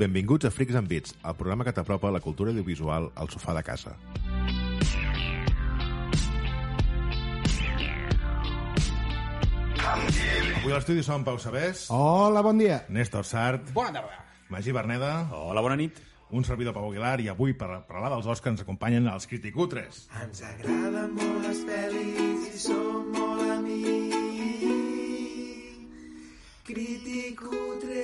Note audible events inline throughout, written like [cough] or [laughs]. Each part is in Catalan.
Benvinguts a Freaks and Bits, el programa que t'apropa la cultura audiovisual al sofà de casa. Avui a l'estudi som Pau Sabés, Hola, bon dia. Néstor Sart, Oh. Bona tarda. Magí Berneda, Hola, bona nit. un servidor Pau Aguilar i avui per per parlar dels Oscars ens acompanyen els Criticutres. Ens agraden molt les pel·lis i som molt amics. Criticutres.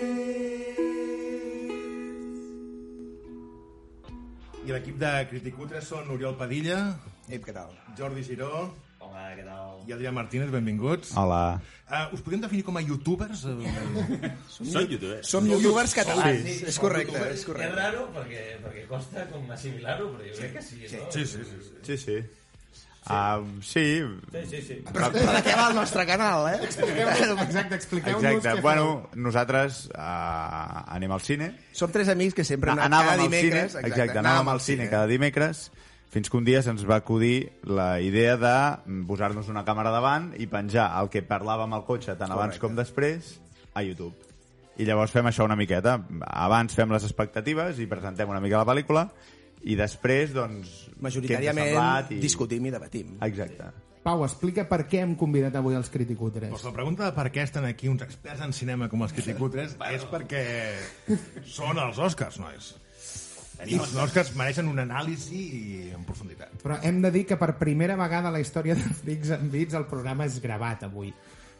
I l'equip de Criticutres són Oriol Padilla, Ep, què tal? Jordi Giró... Hola, què tal? I Adrià Martínez, benvinguts. Ah. Hola. Uh, us podem definir com a youtubers? Eh, Són youtubers. Som youtubers catalans, Sí, és correcte, és És correcte. raro perquè, perquè costa com assimilar-ho, però jo crec que sí, no? sí, sí, sí. sí. Sí, sí. Um, sí, Sí, sí, sí. Però de què va el nostre canal, eh? Exacte, expliqueu-nos exacte. què Bueno, nosaltres uh, anem al cine. Som tres amics que sempre Anàvem anem cada al dimecres... cine, exacte, anàvem al cine cada dimecres fins que un dia se'ns va acudir la idea de posar-nos una càmera davant i penjar el que parlàvem al cotxe tant abans Correcte. com després a YouTube. I llavors fem això una miqueta. Abans fem les expectatives i presentem una mica la pel·lícula i després, doncs... què ens ha semblat Majoritàriament discutim i debatim. Exacte. feu. Pau, explica per què hem convidat avui els Criticutres. Doncs la pregunta de per què estan aquí uns experts en cinema com els Criticutres és perquè són els Oscars, nois. I els Oscars mereixen un anàlisi en profunditat. Però hem de dir que per primera vegada a la història de Freaks and Beats el programa és gravat avui.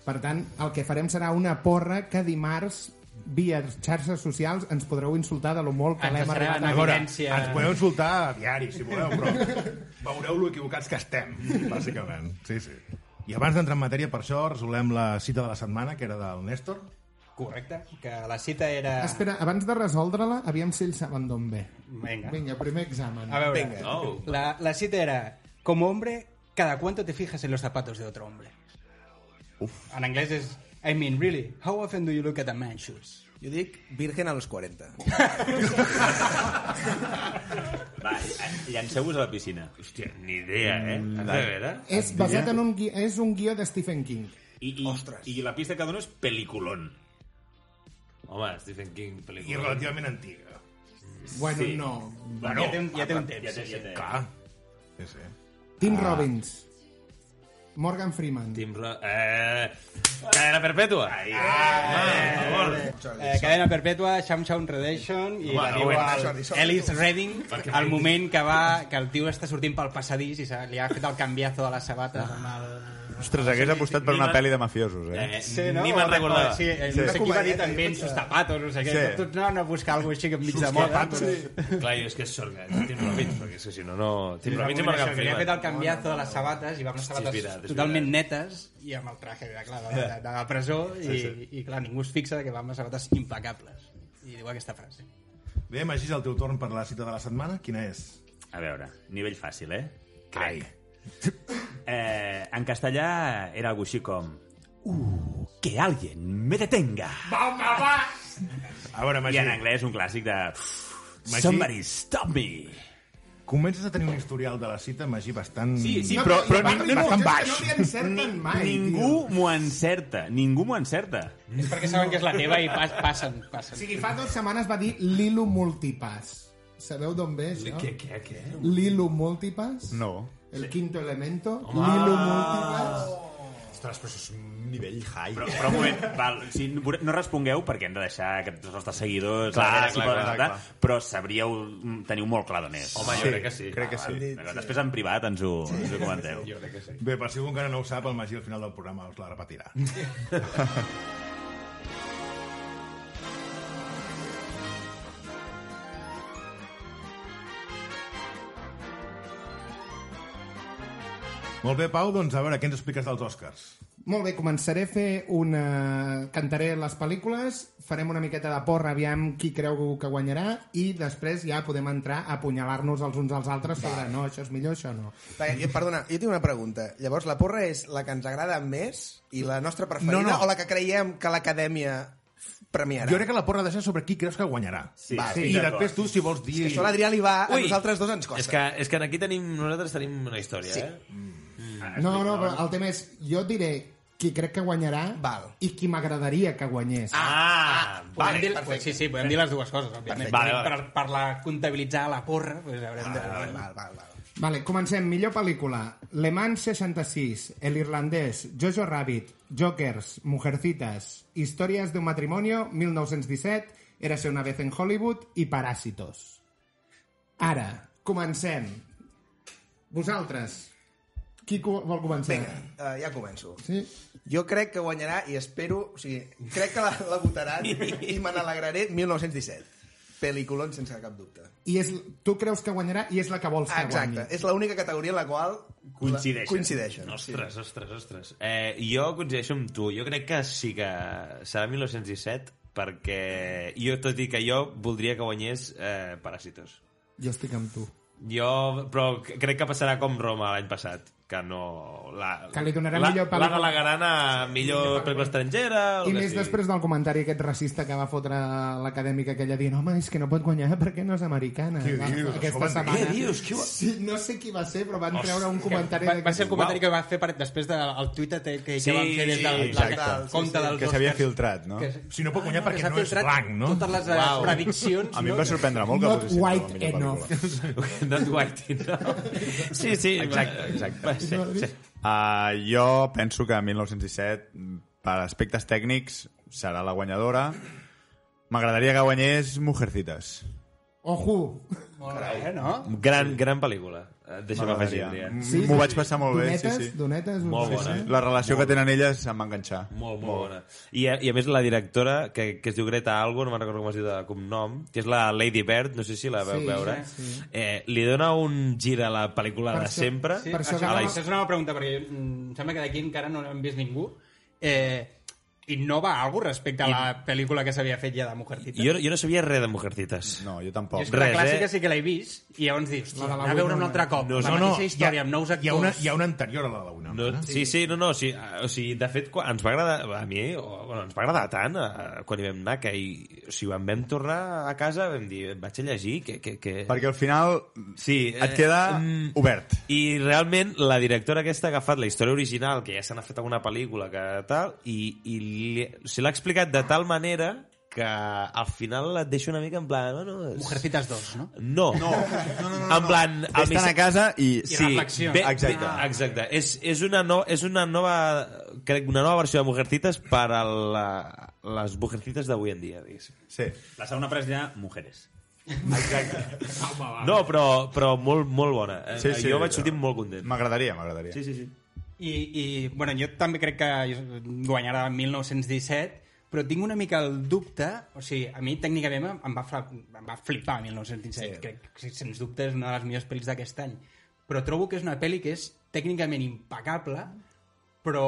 Per tant, el que farem serà una porra que dimarts via xarxes socials ens podreu insultar de lo molt que Ens l'hem serà arribat una a A veure, evidència. ens podeu insultar a diari, si voleu, però veureu lo equivocats que estem, bàsicament. Sí, sí. I abans d'entrar en matèria, per això, resolem la cita de la setmana, que era del Néstor. Correcte, que la cita era... Espera, abans de resoldre-la, aviam si ells saben d'on ve. Venga. Vinga, primer examen. A veure, Venga. la, la cita era, como hombre, cada cuánto te fijas en los zapatos de otro hombre. Uf. En anglès és, I mean, really, how often do you look at a man's shoes? Jo dic virgen a los 40. Va, llanceu-vos a la piscina. Hòstia, ni idea, eh? Mm, de veure? És basat en un guió, és un guió de Stephen King. I, i, Ostres. I la pista que dono és peliculón. Home, Stephen King, I peliculón. relativament antiga. Bueno, Sí. no. Bueno, Ja té un- ja té un temps, Ja té, sí, ja sí. té. Clar. Sí, sí. Tim Robbins. Morgan Freeman. Tim Ro... Eh... Cadena perpètua. Ah. Ai, Eh, cadena perpètua, Sham Sham Redemption i Home, la diu bueno, Jordi, al som- Ellis Redding al moment que va que el tio està sortint pel passadís i se- li ha fet el canviazo de les sabates amb el... Ostres, hagués apostat per una pel·li de mafiosos, eh? Ah. eh, Ni me'n recordava. Sí, eh, no sé qui va dir també en sus zapatos, no sé què. Sí. Sí. Tots anaven a buscar alguna cosa així que enmig de moda. Però... Clar, jo és que és sort que Tim Robbins, perquè és que si no, no... Tim Sí, Robbins i segurament Morgan això, que li ha fet Freeman. el canviazo de les sabates i va amb les Sí, és sabates veritat, és totalment veritat. netes i amb el traje de, clar, de, de, de la presó i, i clar, ningú es fixa que va amb les sabates impecables i diu aquesta frase Bé, Magí, és el teu torn per la cita de la setmana. Quina és? A veure, nivell fàcil, eh? Crec. Eh, en castellà era algo així com... Uh, que alguien me detenga. A veure, I Magí, en anglès un clàssic de... Magí? Somebody stop me! comences a tenir un historial de la cita, Magí, bastant... sí, però, però Bastant- ningú, bastant baix. No li encerten mai, ningú m'ho encerta. Ningú m'ho encerta. és perquè saben que és la teva i pas, passen, passen. O sigui, fa dues setmanes va dir Lilo Multipass. Sabeu d'on ve això? Què, què, què? Lilo Multipass? No. El quinto elemento? Lilo Multipass? Ostres, però és un nivell high. eh? Però, però un moment, val, si no no respongueu perquè hem de deixar que tots els nostres seguidors clar, clar, clar, clar, clar, però sabríeu, teniu molt clar d'on és. Home, jo crec que sí. Crec que sí. D'acord, Després en privat ens ho, ens ho comenteu. Jo crec que sí. Bé, per si algú encara no ho sap, el Magí al final del programa us la repetirà. [laughs] Molt bé, Pau, doncs a veure, què ens expliques dels Oscars? Molt bé, començaré a fer una... Cantaré les pel·lícules, farem una miqueta de porra, aviam qui creu que guanyarà, i després ja podem entrar a apunyalar-nos els uns als altres sobre no, això és millor, això no. Va, jo- Perdona, jo tinc una pregunta. Llavors, la porra és la que ens agrada més i la nostra preferida No, no. o la que creiem que l'acadèmia premiarà? Jo crec que la porra ha de ser sobre qui creus que guanyarà. Sí, Va, sí, I d'acord. després tu, si vols dir... Això a l'Adrià li va, a Ui. nosaltres dos ens costa. És que, és que aquí tenim, nosaltres tenim una història, Sí. eh? No, no, però el tema és, jo et diré qui crec que guanyarà Val. i qui m'agradaria que guanyés. Ah! Podem dir, sí, sí, podem dir les dues coses, òbviament. Vale, vale. Per, per la comptabilitzar la porra, doncs haurem de... Val, val, val, val. Vale, comencem. Millor pel·lícula. Le Mans 66, El Irlandès, Jojo Rabbit, Jokers, Mujercitas, Històries d'un matrimonio, 1917, Érase una vez en Hollywood i Paràsitos. Ara, comencem. Vosaltres, qui co- vol començar? Vinga, uh, ja començo. Sí? Jo crec que guanyarà i espero... O sigui, crec que la, la votaran i me n'alegraré 1917. Peliculon sense cap dubte. I és, tu creus que guanyarà i és la que vols que guanyi. Exacte, és l'única categoria en la qual Coincideixen. coincideixen. Ostres, ostres, ostres. Eh, jo coincideixo amb tu. Jo crec que sí que serà 1917 perquè jo, tot i que jo voldria que guanyés eh, Paràsitos. Jo estic amb tu. Jo, però crec que passarà com Roma l'any passat, que no... La, Que li donarà la, millor pel·lícula. La delegaran a millor pel·lícula estrangera... o I que més sigui. després del comentari aquest racista que va fotre l'acadèmica aquella dient home, és que no pot guanyar perquè no és americana. Què Va, dius? Això Aquesta van dir. setmana. Què dius? Qui ho- Sí, no sé qui va ser, però van treure un comentari... Va, d'aquest- va ser el comentari que va fer per, després del de, Twitter que, que, Sí, que van fer des del sí, la- exacte. compte Sí, sí, dels que s'havia Oscars. filtrat, no? Que- Si no pot guanyar Ah, que perquè s'ha no és filtrat blanc, no? Totes les eh, prediccions... A mi em no? va sorprendre molt que Not posessin white la millor enough. [laughs] pel·lícula. Not White, no? [laughs] Sí, sí. Exacte, exacte. Va, sí, sí. Uh, jo penso que 1917, per aspectes tècnics, serà la guanyadora. M'agradaria que guanyés Mujercitas. Ojo! Molt bé, eh, no? Gran, gran pel·lícula. Eh, Deixa'm afegir, M'agradaria. Adrià. Sí, M'ho vaig passar molt bé, sí, donetes, sí. Donetes, Molt sí, bona. sí. La relació que tenen elles em va enganxar. Molt, molt bona. I, a- I a més la directora, que, que es diu Greta Algo, no me'n recordo com es diu de cognom, que és la Lady Bird, no sé si la veu Sí, veure, sí. Eh, li dona un gir a la pel·lícula Per de això- sempre. sí, Per Per això, això això, que- això és una bona pregunta, perquè mm, em sembla que d'aquí encara no hem vist ningú. Eh, innova alguna respecte a la pel·lícula que s'havia fet ja de Mujercita? Jo, jo no sabia res de Mujercitas. No, jo Jo tampoc. és que la res, clàssica eh? sí que l'he vist i llavors dic, hòstia, La de la anar a veure Wonder un altre cop, No, la no, mateixa hi ha- història, amb nous actors... Hi ha, una, hi ha una anterior a la de una. No, sí, sí, no, no, sí, ah, o sigui, de fet, quan, ens va agradar, a mi, o, bueno, ens va agradar tant eh, quan hi vam anar, que hi, o sigui, quan vam tornar a casa vam dir, vaig a llegir, que... que, que... Perquè al final Sí, eh, et queda mm, obert. I realment la directora aquesta ha agafat la història original, que ja se n'ha fet alguna pel·lícula, que tal, i, i li- se l'ha explicat de tal manera que al final et deixa una mica en plan... Bueno, és... Mujercitas 2, no? No. No, no, no, no. En plan... el Vés-te'n a missatge- casa i... I reflexions. Bé, Exacte. exacte. exacte. És, és, una no, és una nova, crec, una nova versió de Mujercitas per a la, les Mujercitas d'avui en dia, diguéssim. Sí. Eh, La segona frase ja, mujeres. [laughs] No, però, però molt, molt bona. Eh, Sí, sí, jo vaig no. sortir molt content. M'agradaria, m'agradaria. Sí, sí, sí. I, i bueno, jo també crec que guanyarà el 1917, però tinc una mica el dubte, o sigui, a mi tècnicament em- em va, fla- em va flipar el 1917, sí. crec que sens dubte és una de les millors pel·lis d'aquest any, però trobo que és una pel·li que és tècnicament impecable, però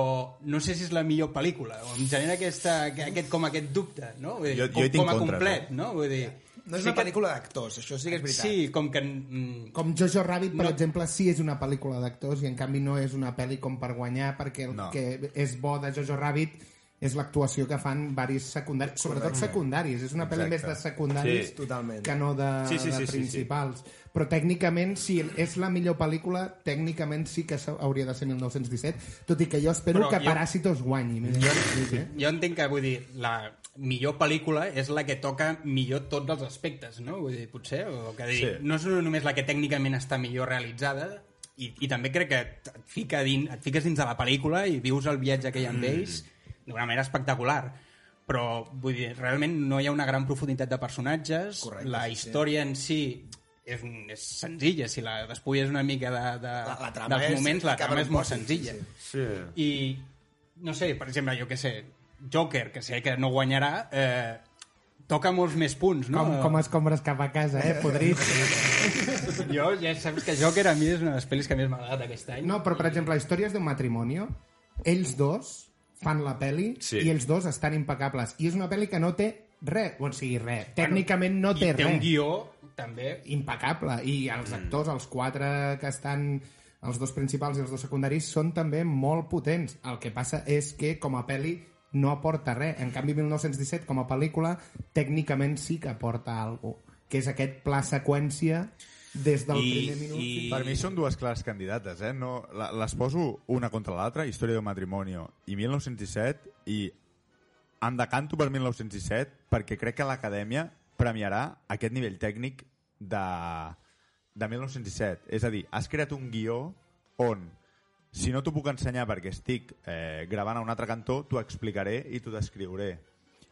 no sé si és la millor pel·lícula, o em genera aquesta, aquest, com aquest dubte, no? Vull dir, Jo- jo com, hi tinc com a contres, complet, no? Vull dir, No és una pel·lícula d'actors, això sí que és veritat. sí, com que... mm, Com Jojo Rabbit, per No. no. exemple, sí és una pel·lícula d'actors i en canvi no és una pel·li com per guanyar perquè el No. no. que és bo de Jojo Rabbit és l'actuació que fan varis secundaris, sobretot secundaris. És una pel·li més Exacte. de secundaris Sí, totalment. que no de, Sí, sí, sí, de sí, principals. Però tècnicament, si és la millor pel·lícula, tècnicament sí que s'ha- hauria de ser 1917, tot i que jo espero Però que jo- Paràsitos guanyi. Més jo... eh? jo entenc que, vull dir, la millor pel·lícula és la que toca millor tots els aspectes, no? Vull dir, potser, o que dir, sí. Sí. no és només la que tècnicament està millor realitzada, i, i també crec que et, et, fica din, et fiques dins de la pel·lícula i vius el viatge que hi ha Mm. amb ells d'una manera espectacular. Però, vull dir, realment no hi ha una gran profunditat de personatges, Correcte, la sí, sí. història en si és, un, és senzilla, si la despulles una mica de, de, La- la trama dels és- moments, la acaba en trama un és molt pòsit, sí, senzilla. sí. Sí. I, no sé, per exemple, jo que sé, Joker, que sé que no guanyarà, eh, toca molts més punts, no? Com, com es compres cap a casa, eh? Podrit. Jo ja saps que Joker a mi és una de les pel·lis que més m'ha agradat aquest any. No, però, per exemple, històries d'un matrimoni, ells dos fan la peli Sí. i els dos estan impecables. I és una peli que no té res, o sigui, res. Tècnicament no té I té un res. guió, també. impecable. I els actors, els quatre que estan els dos principals i els dos secundaris són també molt potents. El que passa és que com a pel·li no aporta res. En canvi, 1917, com a pel·lícula, tècnicament sí que aporta alguna cosa, que és aquest pla seqüència des del I, primer minut. I... Per mi són dues clars candidates, eh? No, la- les poso una contra l'altra, Història del matrimoni i 1917, i em decanto per 1917 perquè crec que l'acadèmia premiarà aquest nivell tècnic de, de 1917. És a dir, has creat un guió on, si no t'ho puc ensenyar perquè estic eh, gravant a un altre cantó, t'ho explicaré i t'ho descriuré.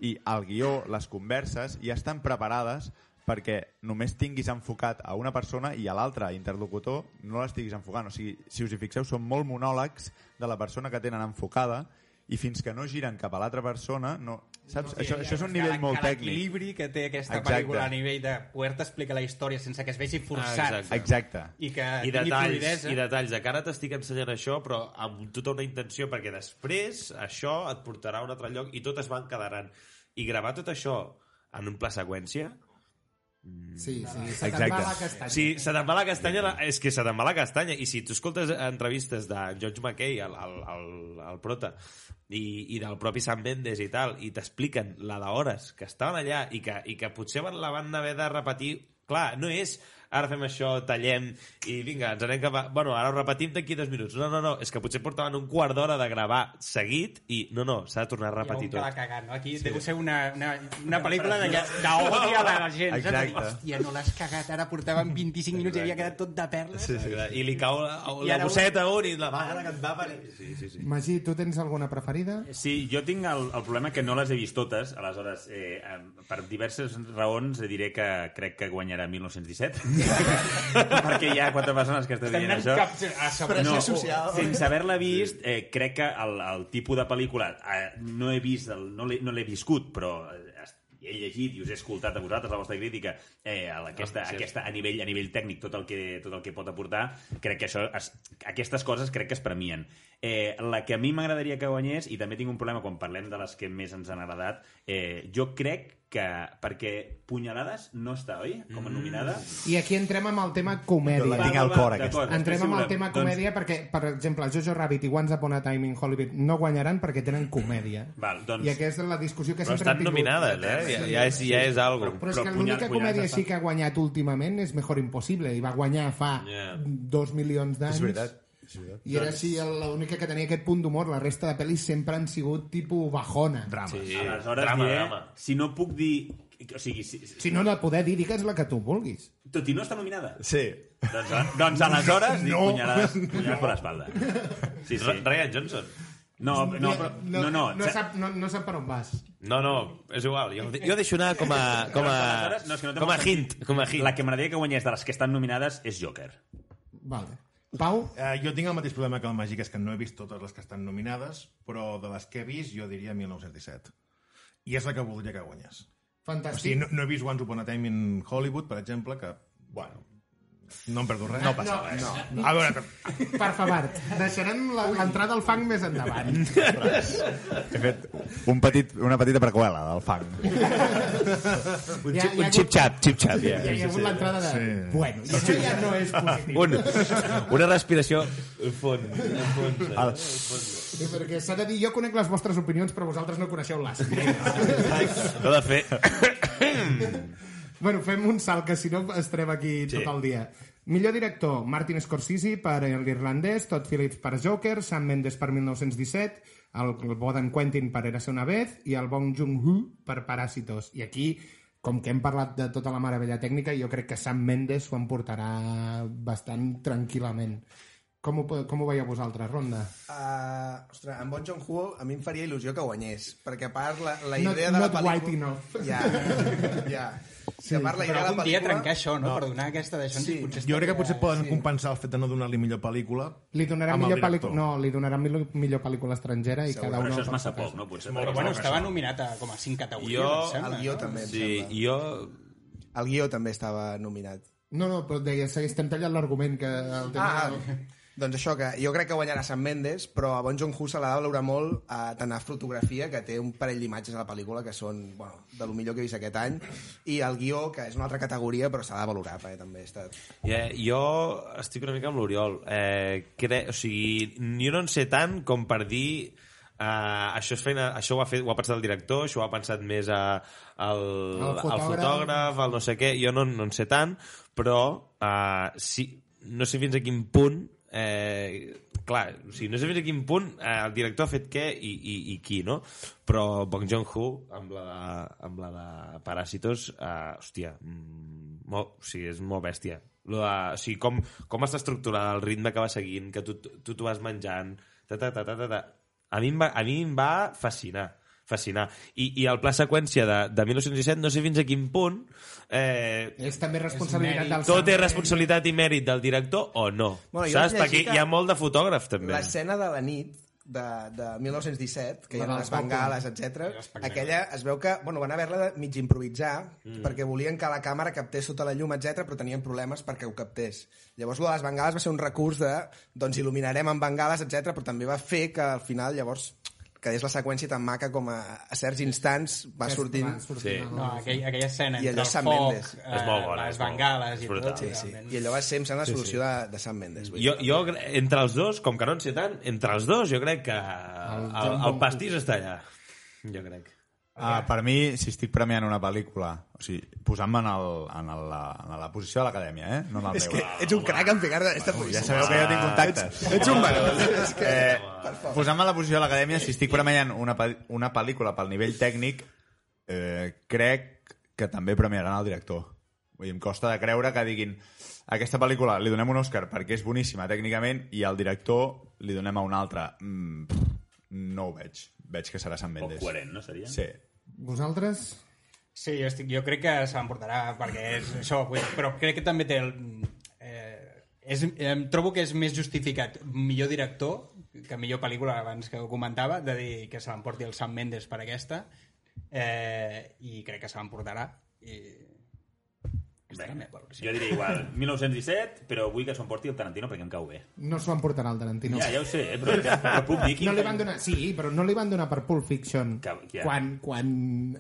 I el guió, les converses, ja estan preparades perquè només tinguis enfocat a una persona i a l'altra interlocutor no l'estiguis enfocant. O sigui, si us hi fixeu, són molt monòlegs de la persona que tenen enfocada i fins que no giren cap a l'altra persona... No, saps? això, això és un nivell molt tècnic. L'equilibri que té aquesta Exacte. pel·lícula a nivell de poder-te explicar la història sense que es vegi forçat. Ah, exacte. Exacte. I que I tingui detalls, fluidesa. i detalls. De cara t'estic ensenyant això, però amb tota una intenció, perquè després això et portarà a un altre lloc i tot es van quedaran. I gravar tot això en un pla seqüència... Sí, sí, se te'n va Exacte. la castanya. Sí, se te'n va la castanya, la- és que se te'n va la castanya. I si tu escoltes entrevistes de George McKay, el, el, el, el prota, i, i del propi Sam Mendes i tal, i t'expliquen la d'hores que estaven allà i que, i que potser van- la van haver de repetir Clar, no és ara fem això, tallem i vinga, ens anem cap a... Bueno, ara ho repetim d'aquí dos minuts. No, no, no, és que potser portaven un quart d'hora de gravar seguit i no, no, s'ha de tornar a repetir I on tot. queda cagat, no? Aquí sí. deu ser una, una, una pel·lícula de- d'odi a la gent. saps? Exacte. Hòstia, no l'has cagat, ara portàvem 25 minuts i havia quedat tot de perles. Sí, sí, I li cau la, I la ara un- bosseta a un i la vaga que et va per... Sí, sí, sí. Magí, tu tens alguna preferida? Sí, jo tinc el, el problema que no les he vist totes, aleshores, eh, em- per diverses raons diré que crec que [laughs] guanyarà 1917, perquè hi ha quatre persones que estan Estem dient anant això. cap Ah, a segon. Pressió social. Sense haver-la vist, eh, crec que el, el tipus de pel·lícula eh, no he vist, el, no l'he no l'he viscut, però eh, es- he llegit i us he escoltat a vosaltres la vostra crítica eh, a la- aquesta, Ah, sí. aquesta, a, nivell, a nivell tècnic tot el que, tot el que pot aportar crec que això, es, aquestes coses crec que es premien eh, la que a mi m'agradaria que guanyés i també tinc un problema quan parlem de les que més ens han agradat eh, jo crec que perquè Punyalades no està, oi? Mm. Com a nominada I aquí entrem amb el tema comèdia. La tinc al cor, aquesta. D'acord, després Entrem si amb el volem. tema Doncs- comèdia perquè, per exemple, Jojo Rabbit i Once Upon a Time in Hollywood no guanyaran perquè tenen comèdia. Val, doncs- I aquesta és la discussió que Però sempre hem estan tingut. nominades, eh? Ja, ja és, ja és algo. Però és Però que punyal- l'única punyalades comèdia així estan. que ha guanyat últimament és Mejor Impossible, i va guanyar fa Yeah. dos milions d'anys. És veritat. És veritat. I era així l'única que tenia aquest punt d'humor. La resta de pel·lis sempre han sigut tipus bajona. Drama. Sí. Sí, Aleshores drama, diré, drama. eh, si no puc dir... O sigui, si, Si no la poder dir, digues la que tu vulguis. tot i no està nominada. Sí. Doncs, doncs aleshores dic No. punyalades, punyalades per l'espalda. Sí, sí. Ryan Johnson. No, no, però, no, no. no, no, sap, no, no sap per on vas. No, no, és igual. Jo, jo deixo anar com a, com a, Doncs, Aleshores, no, és que no té com a molt hint. Com a hint. La que m'agradaria que guanyés de les que estan nominades és Joker. Vale. Pau, Eh, jo tinc el mateix problema que el Magí, que és que no he vist totes les que estan nominades, però de les que he vist jo diria 1917. I és la que voldria que guanyés. O fantàstic. sigui, no, no he vist Once Upon a Time in Hollywood, per exemple, que, bueno, no em perdo res. No passa res. No, no. A [laughs] veure, Per favor, deixarem la- l'entrada al fang més endavant. He fet un petit, una petita preqüela del fang. Un, ja, Un xip-xap, xip-xap, ja. Ja hi ha hagut l'entrada de... Sí. Bueno, i això ja no és positiu. Un, una respiració fons. fons. El, Sí, perquè s'ha de dir, jo conec les vostres opinions, però vosaltres no coneixeu les Ho de fer. bueno, fem un salt, que si no estarem aquí Sí. sí. tot el dia. Millor director, Martin Scorsese per l'Irlandès, Todd Phillips per Joker, Sam Mendes per 1917, el, el Boden Quentin per Érase una vez i el Bong Joon-ho per Paràsitos. I aquí, com que hem parlat de tota la meravella tècnica, jo crec que Sam Mendes ho emportarà bastant tranquil·lament. Com ho, com ho veieu vosaltres, Ronda? Uh, ostres, amb Bon Jong Ho a mi em faria il·lusió que guanyés, perquè a part la, la Not- idea de not la white pel·lícula... enough. Ja, ja. Sí, a part la Però idea de la algun dia pel·lícula... trencar això, no? no. Per donar aquesta d'això, Sí. sí. potser Jo crec que potser poden sí. compensar el fet de no donar-li millor pel·lícula Li donarà amb el millor director. pel·lícula... No, li donarà millor, millor pel·lícula estrangera i Segur. cada Però una... això el és massa porta a poc, casa. no? Potser Però bueno, estava nominat a com a 5 categories, Jo- em sembla. El guió no? també, em Sí, sembla. jo... El guió també estava nominat. No, no, però deia, segueix, estem tallant l'argument que... El tema... Ah, del- doncs això, que jo crec que guanyarà Sant Mendes, però a Bon Joon-ho se l'ha de valorar molt eh, tant a fotografia, que té un parell d'imatges a la pel·lícula que són, bueno, de lo millor que he vist aquest any, i el guió, que és una altra categoria, però s'ha de valorar, perquè també ha estat... Eh, jo estic una mica amb l'Oriol. Eh, cre... O sigui, jo no en sé tant com per dir... Eh, això, és feina, això ho, ha fet, ho ha pensat el director, això ho ha pensat més a, el, El el, fotògraf. fotògraf, el no sé què... Jo no, no en sé tant, però eh, sí, no sé fins a quin punt eh, clar, o sigui, no sé fins a quin punt eh, el director ha fet què i, i, i qui, no? Però Bong Joon-ho, amb la de, amb la de Paràsitos, eh, hòstia, mm, molt, o sigui, és molt bèstia. Lo de, o sigui, com, com està estructurada el ritme que va seguint, que tu tu t'ho vas menjant, ta, ta, ta, ta, ta, ta. A mi em va, a mi em va fascinar fascinar. I, i el pla seqüència de, de 1917 no sé fins a quin punt eh, És també responsabilitat mèrit. del... tot és responsabilitat i mèrit del director o no? Bueno, Bueno, jo Saps? vaig Perquè llegir que hi ha molt de fotògraf, també. L'escena de la nit de, de 1917, que hi La ha del les papa. bengales, etc. aquella es veu que bueno, van haver-la de mig improvisar mm. perquè volien que la càmera captés sota la llum, etc però tenien problemes perquè ho captés. Llavors, lo de les bengales va ser un recurs de doncs il·luminarem amb bengales, etc però també va fer que al final, llavors, quedés la seqüència tan maca com a, a certs instants va sortint... Sí. Sí. No, Ah, aquell, aquella escena I allò entre el Sant foc, Mendes. eh, És molt bona, les és molt- bengales i és brutal. tot. Sí, sí. realment. I allò va ser, em sembla, la solució de, de Sant Mendes. vull dir. Jo, jo, cre- entre els dos, com que no en sé tant, entre els dos jo crec que el, el, el pastís està allà. Jo crec. Ah, per mi, si estic premiant una pel·lícula, o sigui, posant-me en, el, en, el, la, en la posició de l'acadèmia, eh? No en el És meu. que ets un crac en ficar-te en aquesta Ja posició. sabeu que jo tinc contactes. Ets un valor. És que... eh, Posant-me a la posició de l'acadèmia, si estic premiant una, pel- una pel·lícula pel nivell tècnic, eh, crec que també premiaran el director. Vull dir, em costa de creure que diguin aquesta pel·lícula li donem un Òscar perquè és boníssima tècnicament i al director li donem a un altre. Mm, pff, no ho veig. Veig que serà Sant O Mendes. coherent, no seria? Sí. Vosaltres? Sí, jo, estic, jo crec que se l'emportarà perquè és això, vull dir, però crec que també té el, eh, és, em trobo que és més justificat millor director que millor pel·lícula abans que ho comentava, de dir que se l'emporti el Sam Mendes per aquesta eh, i crec que se l'emportarà i... Aquesta és la meva valoració. Jo diria igual, [laughs] 1917, però vull que s'ho emporti el Tarantino perquè em cau bé. No s'ho emportarà el Tarantino. Ja, ja ho sé, eh, però, però puc dir quin... No li van donar... Sí, però no li van donar per Pulp Fiction Que- ja. quan, quan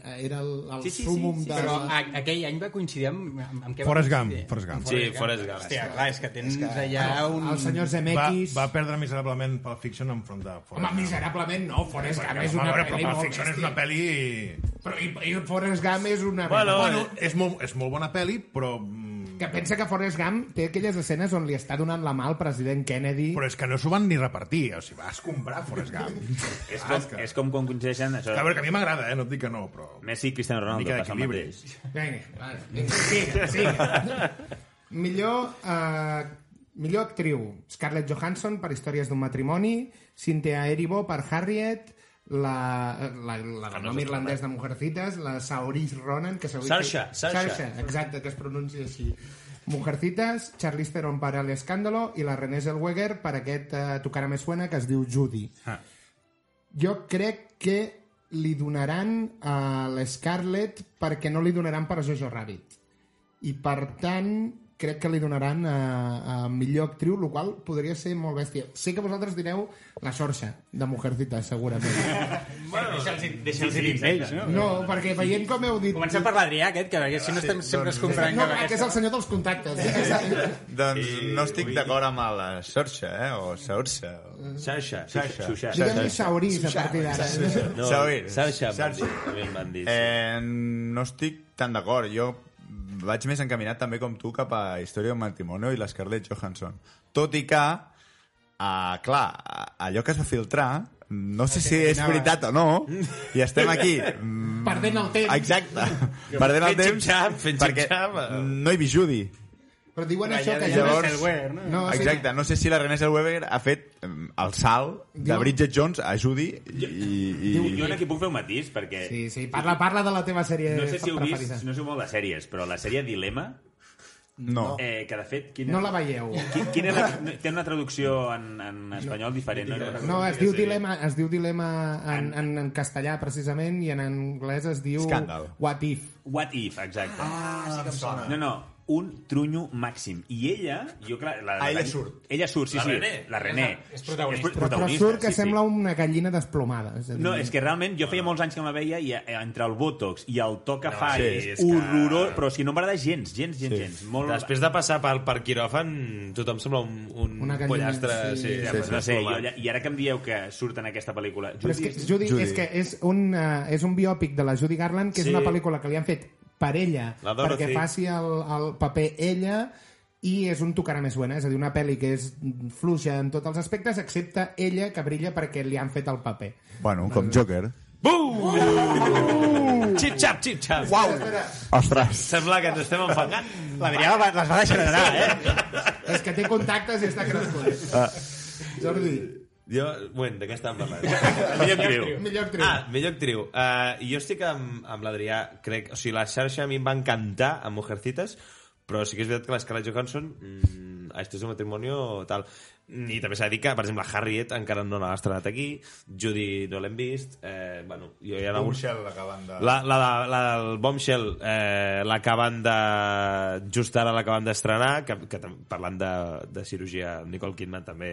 eh, era el, el Sí, sí, sí, súmum sí, de... Però a, aquell any va coincidir amb, amb, amb què va Forrest coincidir? Gump, Forrest Gump. Amb Sí, Forrest Gump. Hòstia, clar, és que tens allà un... El senyor Va, Zemeckis... va perdre miserablement Pulp Fiction enfront de Forrest Home, miserablement no, Forrest Gump és Home, a una veure, pel·li però molt Pulp Fiction és bèstia. una pel·li... Però i, i Forrest Gump és una... Bueno, Bueno, és molt, és molt bona pel·li, però... mm, Que pensa que Forrest Gump té aquelles escenes on li està donant la mà al president Kennedy... Però és que no s'ho van ni repartir, o sigui, vas comprar Forrest Gump. És com, és com quan coincideixen... Això, A veure, que a mi m'agrada, eh? No et dic que no, però... Messi i Cristiano Una mica Ronaldo, passa el d'equilibri. mateix. Vinga, va, vinga, siga, siga. millor, eh, millor actriu. Scarlett Johansson per Històries d'un matrimoni, Cynthia Erivo per Harriet, la, la, la, la nom irlandès de Mujercitas, la Saoirse Ronan, que s'hauria- Saoirse, Saoirse. Saoirse, exacte, que es pronuncia així. Mujercitas, Charlize Theron per El Escándalo i la Renée Zellweger per aquest eh, Tu cara me suena que es diu Judy. Ah. Jo crec que li donaran a l'Scarlett perquè no li donaran per a Jojo Rabbit. I per tant, crec que li donaran a, a millor actriu, el qual podria ser molt bèstia. Sé que vosaltres direu la xorxa de Mujercita, [laughs] segurament. Bueno, deixa'ls deixa sí, dir exacte. ells, no? No, perquè veient com heu dit... Comencem per l'Adrià, aquest, que perquè si no estem sempre es comprant No, cap que és el senyor dels contactes. Doncs no estic d'acord amb la xorxa, eh? O xorxa. O... Sasha. Sasha. Xuxa. Diguem-li Saurís a partir d'ara. No, Saoirse. Sasha, Saoirse. em van dir. sí. Eh, no estic tan d'acord. Jo vaig més encaminat també com tu cap a Història d'un matrimonio i l'Scarlett Johansson. Tot i que, uh, clar, a- allò que es va filtrar, no sé si és veritat o no, i estem aquí... mm, Perdent el temps. [laughs] Exacte, perdent el Fent temps, xip-xap, fent perquè xip-xap, eh. no hi vi Judy. Però diuen això que de llavors- llavors... Selwer, no? No, sí. Exacte, no sé si la Renée Zellweger ha fet em, el salt de Diu- Bridget Jones a Judy i... i... Jo aquí puc fer un matís, perquè... Sí, sí, parla, parla de la teva sèrie No sé si heu preferida. vist, no sé molt de sèries, però la sèrie Dilema, No. eh, que de fet... Quina, No la veieu. Qui- Quina era, no, té una traducció en, en espanyol diferent, no? Era una No, es traducció diu que sí. dilema, es diu dilema en, en, en castellà, precisament, i en anglès es diu... Scandal. What if. What if, exacte. Ah, sí que em sona. No, no, un trunyo màxim. I ella, jo clar... La, Ah, ella la- surt. Ella surt, sí, La sí. René. La René. És protagonista. pro- Però, però surt que sí, sí. sembla una gallina desplomada. És a dir, No, és que realment jo feia molts anys que me veia i eh, entre el Botox i el to que No, fa sí, és, és que- horrorós, però és que no m'agrada gens, gens, gens, gens. Molt... Després de passar per, per quiròfan, tothom sembla un, un Una gallina, pollastre... sí. Sí, Ja, sí, pues, no sé, jo, ja- i ara que em dieu que surt en aquesta pel·lícula... Però és que Judy, Judy, Judy. és que és un, uh, és un biòpic de la Judy Garland, que sí. és Sí. una pel·lícula que li han fet per ella, La Dorothy. perquè faci el, el paper ella, i és un tocar més buena, és a dir, una pel·li que és fluixa en tots els aspectes, excepte ella, que brilla perquè li han fet el paper. Bueno, com Joker. Xip-xap, xip-xap. Uau! Ostres! Sembla que ens estem enfangant. L'Adrià va- les va deixar anar, eh? És que té contactes i està crescut. Jordi, Jo, bueno, de què estàvem parlant? [laughs] Millor actriu. millor actriu. Ah, millor actriu. Uh, jo estic amb, amb l'Adrià, crec... O sigui, la xarxa a mi em va encantar amb Mujercitas, però sí que és veritat que l'Scarlett Johansson mm, a este es un matrimonio tal i també s'ha de dir que, per exemple, Harriet encara no l'ha estrenat aquí, Judy no l'hem vist eh, bueno, jo hi ha algun... acaben de... La, la, la, la del Bombshell eh, l'acaben de... just ara l'acaben d'estrenar que, que tam- parlant de, de cirurgia amb Nicole Kidman també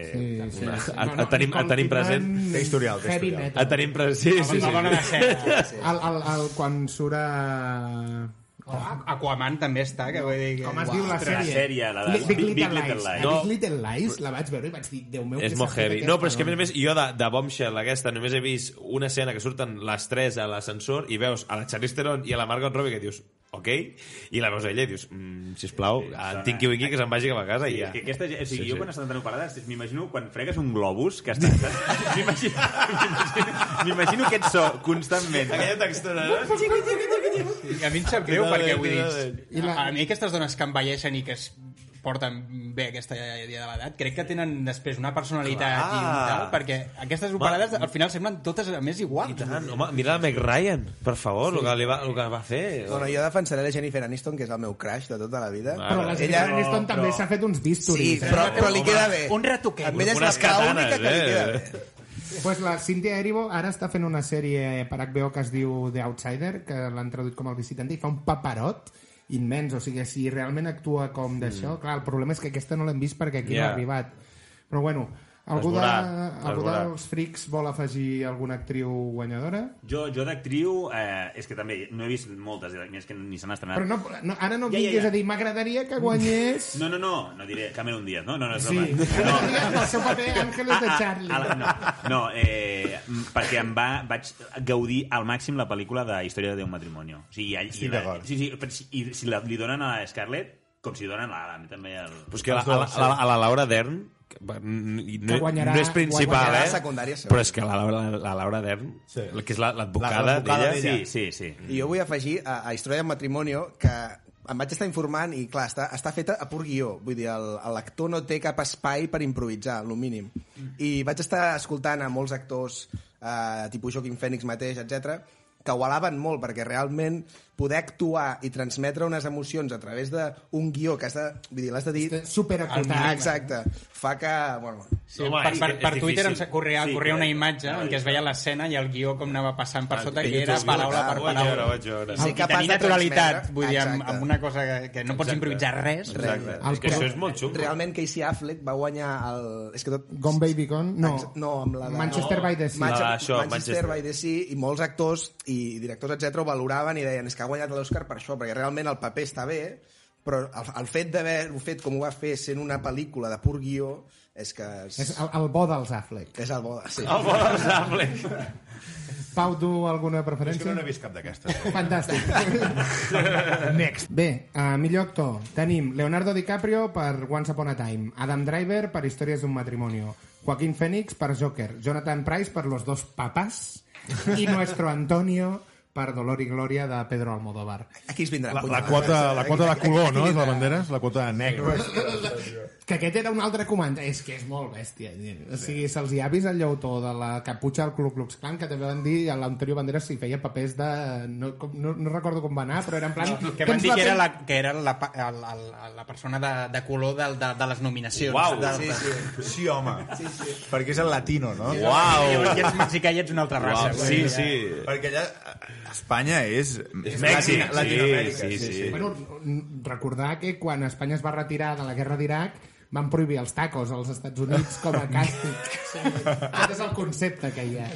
una, A, a, tenim, a tenim present Mm, Té historial, té historial. a tenim present sí, sí, La dona sí. de [laughs] ser. El, el, el, quan surt eh, a... Aquaman també està, que vull dir... Que... Com es diu la la sèrie? sèrie, la de Li- Big, Little, Lies. Lies. No. No. Big Little Lies la vaig veure i vaig dir, Déu meu... és que molt s'ha fet heavy. aquest No, però és que a més a fenomen". més, jo de, de Bombshell aquesta només he vist una escena que surten les tres a l'ascensor i veus a la Charlize Theron i a la Margot Robbie que dius, ok, i la veus a ella i dius, mm, sisplau, antiqui winqui que se'n vagi cap a casa i Sí, ja. és que aquesta, gent- o sigui, Sí, sí, jo sí. quan estan tan operades, m'imagino quan fregues un globus que està... [laughs] m'imagino, m'imagino- m'imagino aquest so constantment. Aquella textura, no? I a mi em sap greu perquè, vull I dir, la- a, a mi aquestes dones que envelleixen i que es porten bé aquesta dia de l'edat, crec que tenen després una personalitat Clar. i un tal, perquè aquestes operades al final semblen totes a més I iguals. tant, home, mira la Meg Ryan, per favor, el, que li va, el que va fer. Bueno, jo defensaré la Jennifer Aniston, que és el meu crush de tota la vida. Mare. Però la Jennifer Ella- Aniston també s'ha fet uns Sí, bisturis. eh? però, però li queda bé. Un retoquet. Amb ella és la Unes catanes, única katanes, que li queda eh? bé. pues la Cynthia Erivo ara està fent una sèrie per HBO que es diu The Outsider, que l'han traduït com el visitant, i fa un paperot immens, o sigui, si realment actua com d'això... Clar, el problema és que aquesta no l'hem vist perquè aquí Ja. no ha arribat. Però bueno, algú, de, Esborat, algú esborat. dels frics vol afegir alguna actriu guanyadora? Jo, jo d'actriu, eh, és que també no he vist moltes, eh, més que ni se n'ha estrenat. Però no, no, ara no Ja, ja, vinguis ja. a dir, m'agradaria que guanyés... No, no, no, no diré Cameron Díaz, no? No, no, és Sí, broma. no, no, [laughs] el seu [laughs] paper Àngeles de Charlie. A la, Ah, no, no eh, m- perquè em va, vaig gaudir al màxim la pel·lícula de Història de Déu Matrimonio. O sigui, i, Estic i, la, d'acord. sí, sí, però si, i si la, li donen a la Scarlett, com si donen a l'Adam, també el... Però és que a la, a la, a la, a la Laura Dern, que, va, n- no, Que guanyarà- no és principal, guanyarà eh? secundària, segur. Però és que la Laura, la, la Laura Dern, Sí. que és la- l'advocada La- l'advocada d'ella... d'ella. Sí, sí, sí. I jo vull afegir a, a Història del Matrimonio que em vaig estar informant i, clar, està, està feta a pur guió. Vull dir, el- l'actor no té cap espai per improvisar, el mínim. I vaig estar escoltant a molts actors, eh, tipus Joaquim Fènix mateix, etc que ho alaben molt, perquè realment poder actuar i transmetre unes emocions a través d'un guió que has de... Vull dir, l'has de dir... superacotat. Exacte. Fa que... Bueno, Sí, Home, per, és per, que per és Twitter em difícil. Ah, corria, Sí, corria una correcte. imatge No, en què es veia l'escena i el guió com anava passant per sota, que Twitter, era sí, paraula clar, per ho vaig veure, ho paraula. vaig veure. Sí, Ser que capaç tenia de transmetre. naturalitat, vull dir, amb, Exacte. amb una cosa que, que no pots improvisar res. Exacte. És que això és molt xungo. realment Casey Affleck va guanyar el... És que tot... Gone Baby Gone? No. Ex- No, amb la de... Manchester by the Sea. Manchester, Ah, això, Manchester, Manchester. by the Sea, i molts actors i directors, etc ho valoraven i deien és que ha guanyat l'Oscar per això, perquè realment el paper està bé, però el, el fet d'haver-ho fet com ho va fer sent una pel·lícula de pur guió és que és, És el, el bo dels Affleck. és el bo. Sí. El Bola Sable. Pau, tu alguna És que preferència? no n'he vist cap d'aquestes. eh. Fantàstic. Next. Bé, uh, millor actor. Tenim Leonardo DiCaprio per Once Upon a Time, Adam Driver per Històries d'un matrimonio, Joaquín Phoenix per Joker, Jonathan Price per Los dos papas i Nuestro Antonio per Dolor i Glòria de Pedro Almodóvar. Aquí es vindrà. La, la, quota, la quota de color, no? És la bandera, és la quota negra. Que aquest era un altre comanda. És que és molt bèstia. O sigui, se'ls hi ha vist el lleutó de la caputxa del Ku Klux Klan, que també van dir a l'anterior bandera si feia papers de... No, com- no, no recordo com va anar, però era en plan... Que van dir que era la, que era la, pa- el- el- la persona de, de color de, de, de les nominacions. Uau, de, sí, de, Sí, home. Sí, sí. Perquè és el latino, no? Llavors ja ets mexicà i ets una altra raça. Uau, vull sí, dir, sí. Perquè allà... Espanya és... És Mèxic, Latina- sí, Latinoamèrica. sí, sí. Bueno, n- recordar que quan Espanya es va retirar de la guerra d'Iraq van prohibir els tacos als Estats Units com a càstig. Sí, Aquest és el concepte que hi ha.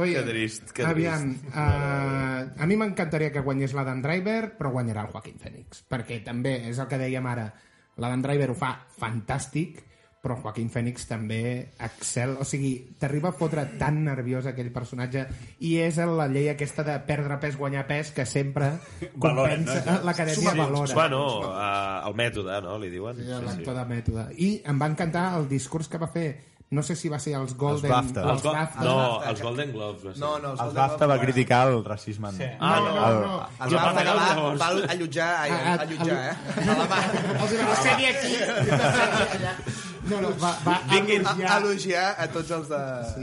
Oi, Que trist, que aviam, Uh, a mi m'encantaria que guanyés l'Adam Driver, però guanyarà el Joaquin Phoenix, perquè també és el que dèiem ara, l'Adam Driver ho fa fantàstic, però el Joaquin Phoenix també excel, o sigui, t'arriba a fotre tan nerviós aquell personatge i és la llei aquesta de perdre pes, guanyar pes, que sempre Valora, compensa, l'acadèmia Sí, valora. Bueno, eh, el mètode, no?, li diuen. Sí, l'actor de mètode. I em va encantar el discurs que va fer, no sé si va ser als Golden... BAFTA. Els Als go- BAFTA. no, BAFTA, els que- Golden Globes. va ser. No, no, El BAFTA va criticar el racisme. Sí. Ah, no, no, no. El Jo va pensava regalar, llavors. va allotjar, ai, Ah, ah, allotjar, eh? A la Els hi va dir, "Seri aquí! No, no, va, va va elogiar... elogiar a tots els de... A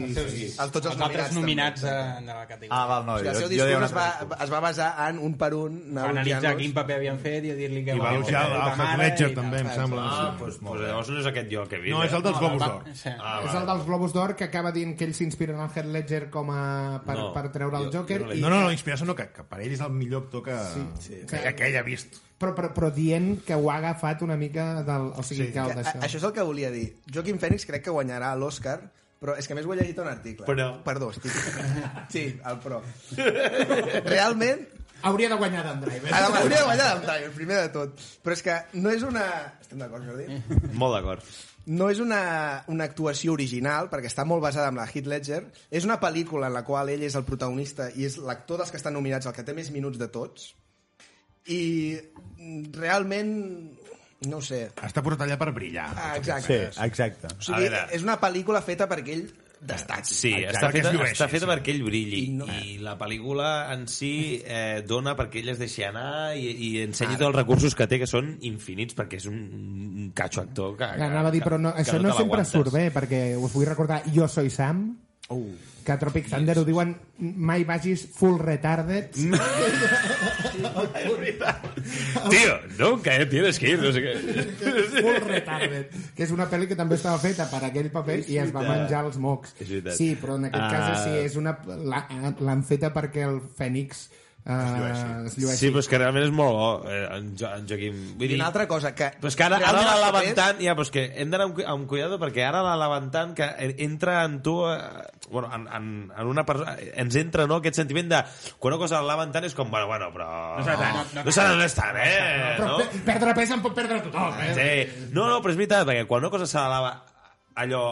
tots els Els altres nominats. nominats també. a, de la categoria. Ah, val, no. O sigui, el Jo, seu jo deia discurs una es va, altra cosa. es va basar en un per un Va anar analitzar quin elogiant-los. paper havien fet i a dir-li que... I va guanyava elogiar la puta l'Alfred mare Ledger, i tal. també, em sembla. Ah, doncs, doncs, llavors no és aquest jo el que he vist. No, és el eh? dels Globus Va- d'Or. Sí. Ah, És el dels Globus d'Or que acaba dient que ell s'inspira en el Heath Ledger com a... per, No, per treure el jo- Joker jo no l'he i No, no, no, inspirar-se no, que, que per ell és el millor actor que, sí, sí. que, que ell ha vist. Però, però, però dient que ho ha agafat una mica del... O sigui, sí, que Que, el a, d'això... això és el que volia dir. Joaquim Fènix crec que guanyarà l'Oscar, però és que a més ho he llegit a un article. Però- Perdó, [laughs] estic... Sí, el però. Realment, Hauria de guanyar d'en Driver. a la majoria de guanyar el Tiger, primer de tot. Però és que no és una... Estem d'acord, Jordi? va. Molt d'acord. no és una, una actuació original, perquè està molt basada en la Heath Ledger. És una pel·lícula en la qual ell és el protagonista i és l'actor dels que estan nominats el que té més minuts de tots. I mm, realment... No ho sé. Està posat allà per brillar. Ah, Sí, exacte. exacte. O A sigui, veure. és una pel·lícula feta perquè ell destaqui. Sí, Exacte, està perquè es feta, llueixi, està feta sí. perquè ell brilli I I, no- i la pel·lícula en si eh, dona perquè ell es deixi anar i, i ensenyi tots els recursos que té, que són infinits, perquè és un, un catxo actor que, que, Anava a dir, però no, que això te no sempre l'aguantes. [laughs] surt bé, perquè us vull recordar Jo soy Sam, Uh. que a Tropic Thunder ho diuen mai vagis full retarded. Tio, nunca eh, tienes que ir, no sé què. full retarded. Que és una pel·li que també estava feta per aquell paper i es va menjar els mocs. És veritat. Sí, però en aquest Ah. cas sí, és una... la- L'han feta perquè el Fènix eh, es llueixi. Sí, però és que realment és molt bo, eh, en, Jo- en Joaquim. Vull I dir, una altra cosa, que... Però és que ara, ara realment la els levantant... Ja, però és que hem d'anar amb, cu- amb cuidado perquè ara la levantant que en- entra en tu... Eh, bueno, en, en, en una persona... Ens entra, no?, aquest sentiment de... Quan una cosa la levantant és com, bueno, bueno, però... No serà tant. No, serà no és tant, eh? Però No? pe- perdre pes en pot perdre tothom, eh? Sí. No, no, però és veritat, perquè quan una cosa s'eleva allò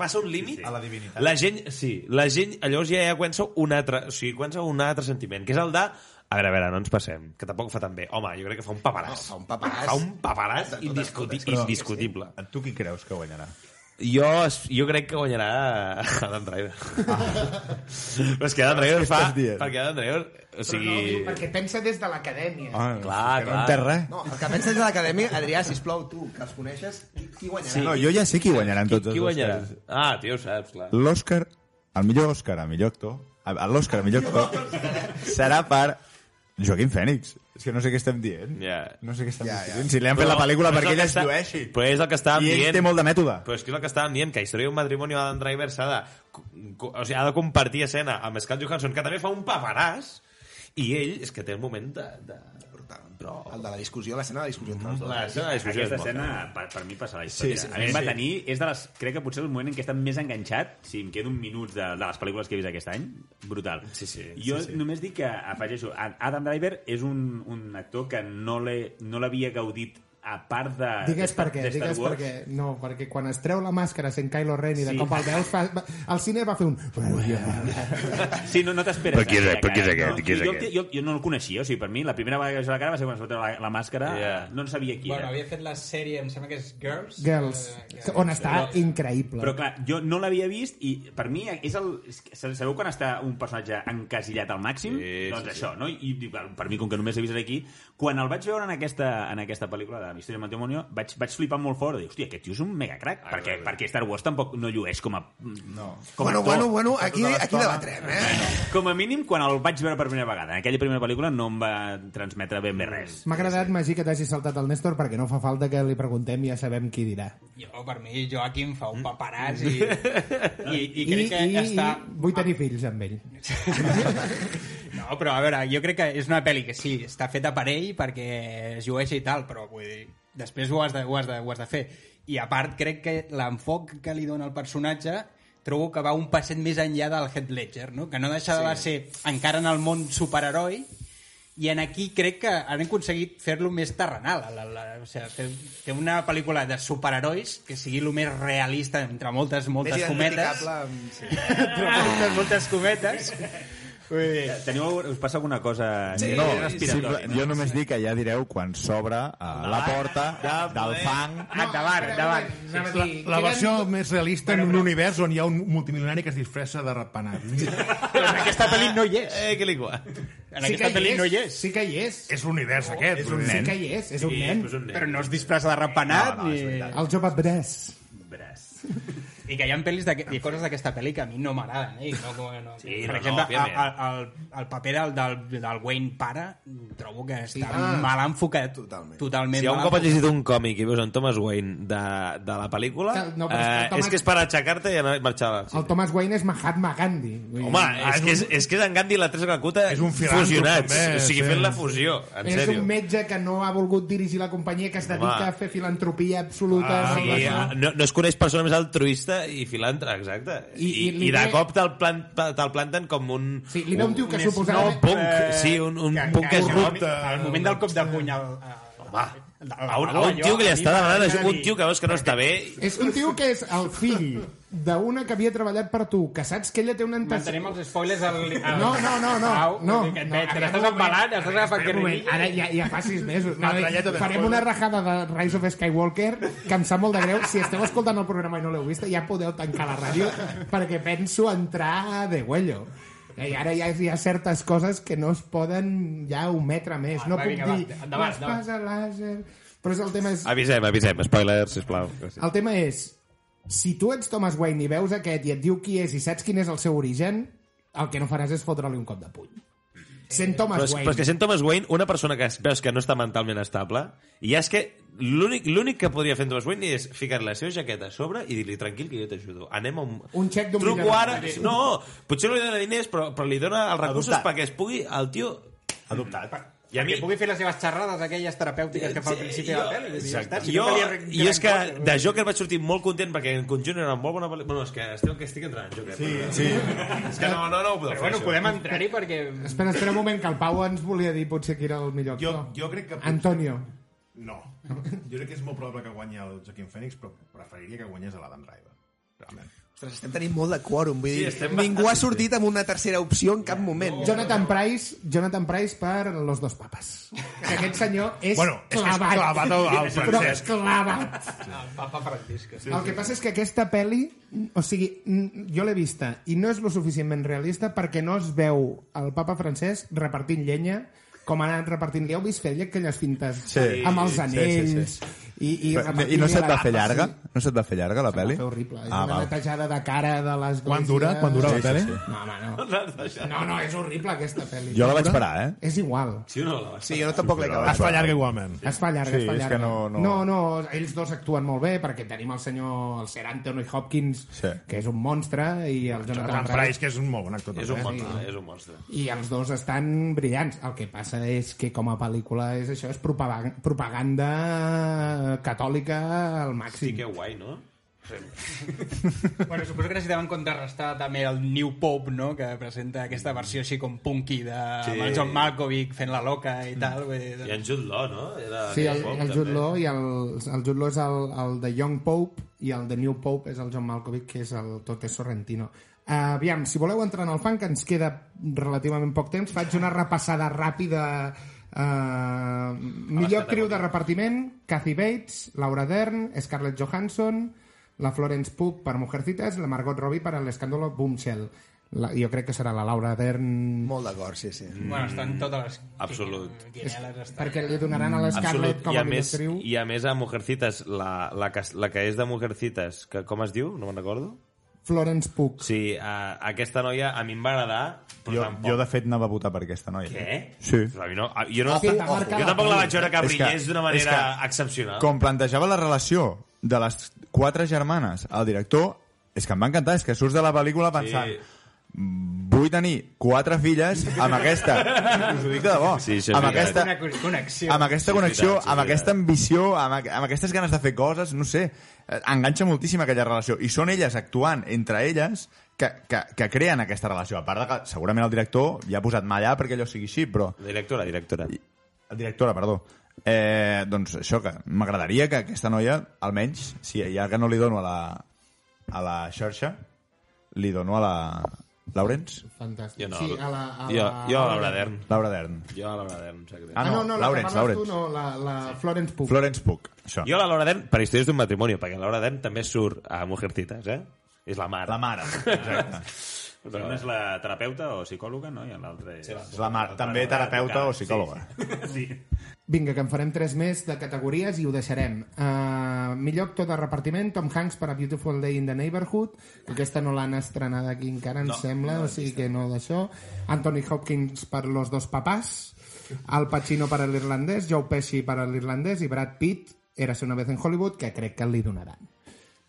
passa un límit a la divinitat. La gent, sí, la gent, llavors ja, ja comença un altre, o sigui, comença un altre sentiment, que és el de a veure, a veure, no ens passem, que tampoc ho fa tan bé. Home, jo crec que fa un paperàs. No, fa un paperàs. Fa un paperàs De totes indiscuti totes, però- indiscutible. Tu qui creus que guanyarà? Jo, es- jo crec que guanyarà Adam Driver. Ah. Però és que Adam Driver fa... estàs dient? Perquè Adam Driver... O sigui... No, perquè pensa des de l'acadèmia. Ah, Clar, que No clar. entès res. No, el que penses de l'acadèmia, Adrià, sisplau, tu, que els coneixes, qui- qui guanyarà? No, jo ja sé qui guanyarà en Qui, tots els qui guanyarà? Oscars. Ah, tio, ho saps, clar. L'Òscar, el millor Òscar, el millor actor, a- a l'Òscar, el millor actor, serà per Joaquim Fènix. És que no sé què estem dient. Ja. No sé què estem dient. Si li han fet la Però- pel·lícula però és perquè el ell que es està- llueixi. Però és el que I estàvem dient. ell té molt de mètode. Però és que és el que estàvem dient, que a Història d'un matrimoni Adam Driver s'ha de... co- O sigui, ha de compartir escena amb Scarlett Johansson, que també fa un paperàs, i ell és que té el moment de... de... Però... El de la discussió, l'escena de la discussió entre els dos. La escena de discussió Aquesta és molt escena, per, per mi, passa la història. Sí, sí, a mi em sí. va tenir... És de les, crec que potser és el moment en què he estat més enganxat, si em quedo un minut de, de les pel·lícules que he vist aquest any, brutal. Sí, sí, jo sí, sí. només dic que, afegeixo, a- Adam Driver és un, un actor que no l'he- no l'havia gaudit a part de... Digues de- per què, de Star digues per Wars, què. No, perquè quan es treu la màscara sent Kylo Ren i de cop el veus, fa, va- el cine va fer un... [laughs] Sí, no, no t'esperes. Per qui és- aquella per qui és cara, aquest? no? Qui és jo, aquest? jo, jo, no el coneixia, o sigui, per mi, la primera vegada que vaig veure la cara va ser quan es va treure la, la màscara, Yeah. no en sabia qui Bueno, era. havia fet la sèrie, em sembla que és Girls. Girls, eh, que- on està Però- increïble. Però clar, jo no l'havia vist i per mi és el... és que Sabeu quan està un personatge encasillat al màxim? Sí, doncs sí, això, no? I dic, bueno, per mi, com que només he vist aquí, quan el vaig veure en aquesta, en aquesta pel·lícula de Misteri de Matrimonio, vaig, vaig flipar molt fort. Dic, hòstia, aquest tio és un megacrac, ah, perquè, perquè Star Wars tampoc no llueix com a... No. Com a Bueno, actor. bueno, bueno, aquí, tota aquí l'estona. debatrem, eh? Com a mínim, quan el vaig veure per primera vegada. En aquella primera pel·lícula no em va transmetre ben bé res. M'ha agradat, Magí, que t'hagi saltat el Néstor perquè no fa falta que li preguntem i ja sabem qui dirà. Jo, per mi, Joaquim fa un paperàs [laughs] i, i, i crec que i, està... i vull tenir fills amb ell. No, però a veure, jo crec que és una pel·li que sí, està feta per ell perquè es llueix i tal, però vull dir, després ho has de, ho has de, ho has de fer. I a part, crec que l'enfoc que li dona el personatge trobo que va un passet més enllà del Heath Ledger, no? que no deixa de ser encara en el món superheroi, i en aquí crec que han aconseguit fer-lo més terrenal. La, la, o sigui, fer, fer una pel·lícula de superherois que sigui el més realista entre moltes, moltes cometes. identificable amb- Sí. [laughs] Entre moltes, moltes cometes. Vull dir, Teniu, algun- us passa alguna cosa... Sí, No, Eh, simple, jo només dic que ja direu quan s'obre eh, la porta del fang. Endavant, endavant. La, La versió més realista en un univers on hi ha un multimilionari que es disfressa de ratpenat. Però en aquesta pel·li no hi és. Eh, que l'igual. En aquesta pel·li no hi és. Sí que hi és. és l'univers aquest. És un Sí que hi és, és un nen. Pues doncs un nen. Però no es disfressa de rampanat. No, no, és ni... El jove Bres. I que hi ha pel·lis d'aquest- i coses d'aquesta pel·li que a mi no m'agraden. Eh? i No, com, que no. Sí, per no, exemple, no, òbviament. el, el, el paper del, del, del Wayne pare trobo que està mal enfocat. Totalment. totalment Si un mal cop has enfocat. llegit un còmic i veus en Thomas Wayne de, de la pel·lícula, Que- no, però és que el eh, Thomas- és que és per aixecar-te i anar i marxar. a la- El Thomas Wayne és Mahatma Gandhi. Vull dir, Home, és que, és, és que és en Gandhi i la Teresa Calcuta És un filàntrop, fusionats. també, o sigui, sí. fent la fusió, en és sèrio. un metge que no ha volgut dirigir la companyia, que es dedica Home. a fer filantropia absoluta. Ah, no, sí, no, no. no, no es coneix persona més altruista i filantra, exacte. I, I- i, i li i de ve- cop te'l plan, te'l planten com un... Sí, li ve un tio que un suposadament- snob punk, sí, un, un punk que, corrupte. que, eh, al moment del cop de puny al, Home, a un, a un tio que li està demanant ajuda, un tio que veus que no està bé... És un tio que és el fill d'una que havia treballat per tu, que saps que ella té una Mantenim els spoilers al... al No, no, no, no. Au, no, que et no, veig, te espera l'estàs un moment. embalant, estàs agafant Espera un moment, carrililla. Ara ja, ja fa sis [laughs] mesos. No, Una tralleta de farem spoiler. una rajada de Rise of Skywalker que em sap molt de greu. Si esteu escoltant el programa i no l'heu vist, ja podeu tancar la ràdio perquè penso entrar de huello. I ara ja hi ha certes coses que no es poden ja ometre més. Va, no va, puc vinga, va, dir endavant, l'espasa làser... Però és el tema és... Avisem, avisem, spoiler, sisplau. El tema és, si tu ets Thomas Wayne i veus aquest i et diu qui és i saps quin és el seu origen, el que no faràs és fotre-li un cop de puny. Sent Eh, Thomas Però és, Wayne. però és que sent Thomas Wayne, una persona que es- veus que no està mentalment estable, i és que l'únic l'únic que podria fer en Thomas Wayne és ficar la seva jaqueta a sobre i dir-li tranquil que jo t'ajudo. Anem a un... Un xec d'un Truco milió ara... d'euros. No, potser no li dona diners, però, però li dona els recursos perquè es pugui... El tio... Adoptat. I a mi... Que pugui fer les seves xerrades aquelles terapèutiques que fa al principi de la pel·li. Vull dir, ja està, Exacte. si Jo, no calia re- jo és que gran cosa. de Joker vaig sortir molt content perquè en conjunt era una molt bona pel·lícula. Bueno, és que esteu que estic entrant en Joker. Sí, sí. És que no, no, no ho podeu Però fer, bueno, això. podem entrar-hi perquè... Espera, espera un moment, que el Pau ens volia dir potser que era el millor Jo, actor. jo crec que... potser- Antonio. No. Jo crec que és molt probable que guanyi el Joaquin Phoenix, però preferiria que guanyés l'Adam Driver. Realment. Ostres, estem tenint molt de quòrum, vull Sí, dir, estem ningú bastant- ha sortit amb una tercera opció en cap moment. Jonathan Price, Jonathan Price per Los dos papes. Que aquest senyor és Bueno, és que és clavat. clavat al- al Però francès. clavat. El papa Francisco. Sí. El que passa és que aquesta pe·li, o sigui, mm, jo l'he vista i no és lo suficientment realista perquè no es veu el papa francès repartint llenya com ha anat repartint. Li heu vist fer aquelles fintes Sí. amb els Sí, sí, sí. anells i, i, I repartint-li no se't la va barba, fer llarga? sí. No se't va fer llarga, la Va pel·li? fer horrible. És Ah, una val. netejada de cara de les... Quan dura? Quan dura la tele? No, home, no. No, no, és horrible aquesta pel·li. Jo la vaig parar, eh? És igual. Sí o no? la vas- Sí, jo no tampoc l'he Es acabat. fa llarga igualment. Es fa llarga, Sí, es fa és llarga. que no- no- no, no, ells dos actuen molt bé perquè tenim el senyor el Sir Anthony Hopkins, Sí. que és un monstre, i el Jonathan Jonathan Price, Price, que és un molt bon actor. És també, un eh? monstre, és un monstre. i els dos estan brillants. El que passa és que com a pel·lícula és això, és propaga- propaganda catòlica al Sí, màxim. que guai, no? Bueno, suposo que necessitaven contrarrestar també el New Pope, no?, que presenta aquesta versió així com punky de sí. Mm. Sí. Mm. el John Malkovich fent la loca i tal. Vull dir, doncs, I en Jude Law, no? Era Sí, el, aquell pop, el també. Jude Law i el, el Jude Law és el, el de Young Pope i el de New Pope és el John Malkovich, que és el Tote Sorrentino. Uh, aviam, si voleu entrar en el fan, que ens queda relativament poc temps, faig una repassada ràpida Uh, millor actriu de repartiment Kathy Bates, Laura Dern Scarlett Johansson la Florence Pugh per Mujercitas la Margot Robbie per l'escàndolo Boomshell la, jo crec que serà la Laura Dern Molt d'acord, sí, sí. Bueno, estan totes les... mm, Absolut. Quineles estan... perquè li donaran a l'Scarlett Absolut. com I a a, més, millor actriu I a més a Mujercitas, la, la, que, la que és de Mujercitas, que com es diu? No me'n recordo. Florence Pugh Sí, a, aquesta noia a mi em va agradar, però Jo, tampoc... jo, de fet, anava a votar per aquesta noia. Què? Sí. A mi no, a- jo, no, Ojo, ojo. jo tampoc la vaig veure que És que- brillés d'una manera és que- excepcional. Com plantejava la relació de les quatre germanes al director, és que em va encantar, és que surts de la pel·lícula pensant... "Mm, Sí. Vull tenir quatre filles amb aquesta. [laughs] Us ho dic de debò. Sí, això és amb veritat. aquesta, Una co- connexió. amb aquesta Sí, és connexió, veritat, sí, és amb aquesta ambició, amb, aqu- amb aquestes ganes de fer coses, no sé, eh, enganxa moltíssim aquella relació. I són elles actuant entre elles que, que, que creen aquesta relació. A part de que segurament el director ja ha posat mà allà perquè allò sigui així, però Directora, directora. directora, perdó. Eh, doncs això, que m'agradaria que aquesta noia, almenys, si ja que no li dono a la, a la xarxa, li dono a la Lawrence? Fantàstic. Jo no. Sí, a la... A jo, la... jo a Laura Dern. Laura Dern. Jo a Laura Dern, em sap greu. Ah, Ah, no, no, la Lawrence, Lawrence, que parlaves Lawrence. tu, no, la, la Florence Pugh. Florence Pugh, això. Jo a la Laura Dern, per històries d'un matrimoni, perquè la Laura Dern també surt a Mujercitas, eh? És la mare. La mare, exacte. Però una és la terapeuta o psicòloga, no? I l'altra és... És la mare, també terapeuta o psicòloga. [laughs] Sí. Vinga, que en farem tres més de categories i ho deixarem. Uh, millor actor de repartiment, Tom Hanks per A Beautiful Day in the Neighborhood. Aquesta no l'han estrenada aquí encara, em no, sembla, no o sigui que no d'això. Anthony Hopkins per Los dos papás. Al Pacino per a l'irlandès, Joe Pesci per a l'irlandès i Brad Pitt, Érase una vez en Hollywood, que crec que li donaran.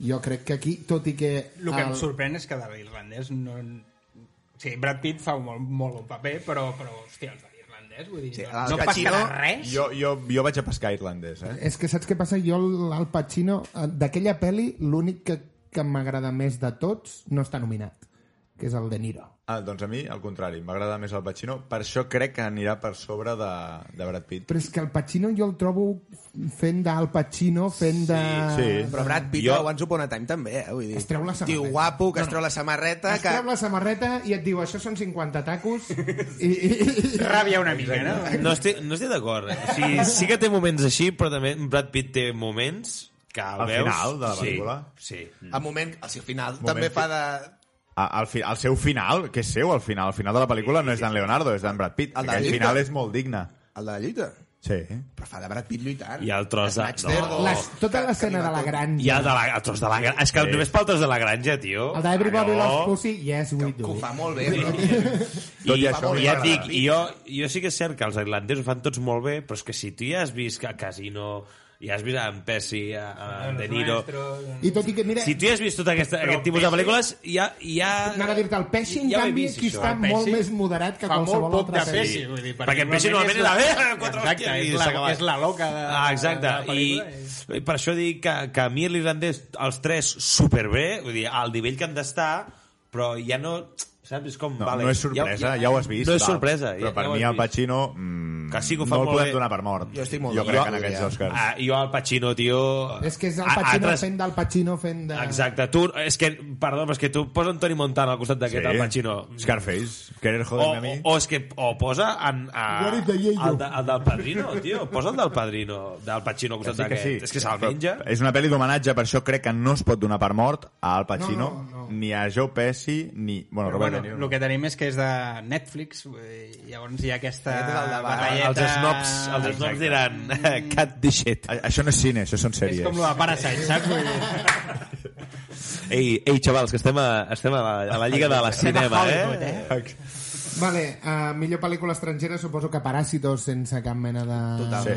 Jo crec que aquí, tot i que... El que em sorprèn és que de l'irlandès no... O sigui, Brad Pitt fa un molt, molt bon paper, però, però hòstia, els de l'irlandès, vull dir, Sí, no, el no Pacino- passarà res. Jo, jo, jo vaig a pescar irlandès, eh? És que saps què passa? Jo l'Al Pacino, eh, d'aquella pel·li, l'únic que, que m'agrada més de tots no està nominat, que és el de Niro. Ah, doncs a mi, al contrari, m'agrada més el Pacino. Per això crec que anirà per sobre de, de Brad Pitt. Però és que el Pacino jo el trobo fent d'Al Pacino, fent de... sí, Però Brad Pitt, Jo- jo... Once Upon a Time també, eh? Vull dir, Es treu la Tio samarreta. guapo, que es treu la samarreta, Es treu la samarreta i et diu això són 50 [laughs] tacos i, i, i... Ràbia una mica, no? No estic, no estic d'acord. eh? O sigui, sí que té moments així, però també Brad Pitt té moments que el Al veus... final de la pel·lícula. Sí, sí. que a moment, al seu final, Moment també fa de... A, al, fi, al seu final, que és seu, al final, al final de la pel·lícula no és d'en Leonardo, és d'en Brad Pitt. El de Aquell la lluita. final és molt digne. El de la lluita. Sí. Però fa de Brad Pitt lluitant. I el tros de- Snatch Dead, no. o- Les, tota que- que l'escena de la animator. I granja. el, de la, el tros de la granja... És que sí. només pel tros de la granja, tio... El de Everybody Allò- Loves Pussy, yes, we Que do. ho fa molt bé. No? Tot i això, I, i ja m'agrada. et dic, i jo, jo sí que és cert que els irlandesos ho fan tots molt bé, però és que si tu ja has vist a Casino, ja has vist a en Pesci, a, a De Niro... I tot i que, mira, Si tu ja has vist tot aquesta, aquest tipus de pel·lícules, ja... ja anava a dir-te, el Pesci, en ja ho he canvi, vist, aquí això. està eh? El Pesci molt més moderat que fa molt qualsevol poc altra de pel·li. Pesci, vull dir, perquè en Pesci normalment és [laughs] és la... [laughs] la- Eh, quatre Exacte, hòsties, i és la- s'ha acabat. és la loca de- Eh, Ah, exacte. de la pel·lícula, I, I per això dic que, que a mi l'irlandès, els tres, superbé, vull dir, al nivell que han d'estar, però ja no... Saps? És com... No, vale, no és sorpresa, ja, ho has vist. No és val. sorpresa. Però ja- per ja ho mi has el vist. Pacino mm, Que sí que ho fa no el molt podem bé. donar per mort. Jo estic molt jo d'acord. crec que Jo- en aquests ja. Oscars. Ah, jo al Pacino, tio... És que és el a- Pacino altres- fent del Pacino fent de... Exacte, tu, és que, perdó, però és que tu posa Antoni Montana al costat d'aquest, sí. al Pacino. Oh, Scarface. Querer O, joderme a o, mi. o, és que, o posa en, a, What if the Yeyo? el, de, el del Padrino, tio. Posa el del Padrino, del Pacino al costat Sí que d'aquest. sí. oh, És que se'l menja. Però eh, És una pel·li d'homenatge, per això crec que no es pot donar per mort a Al Pacino, No, no, no. ni a Joe Pesci, ni... Bueno, Però Robert bueno, De Niro. el que tenim és que és de Netflix, vull dir, llavors hi ha aquesta Aquest és el debat. batalleta... Els snobs, els snobs Mm. diran [laughs] cut the shit. A- Això no és cine, això són És sèries. com la de Parasite, saps? Vull dir, Ei, ei, xavals, que estem a, estem a, la, a la lliga de la cinema, eh? Vale, uh, millor pel·lícula estrangera, suposo que Paràsitos, sense cap mena de Total.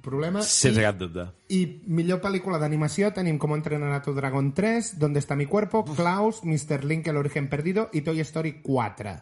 problema. Sense cap dubte. I millor pel·lícula d'animació tenim Com entrenar a tu dragón 3, Donde está mi cuerpo, Klaus, Mr. Link, El origen perdido i Toy Story Eh, 4.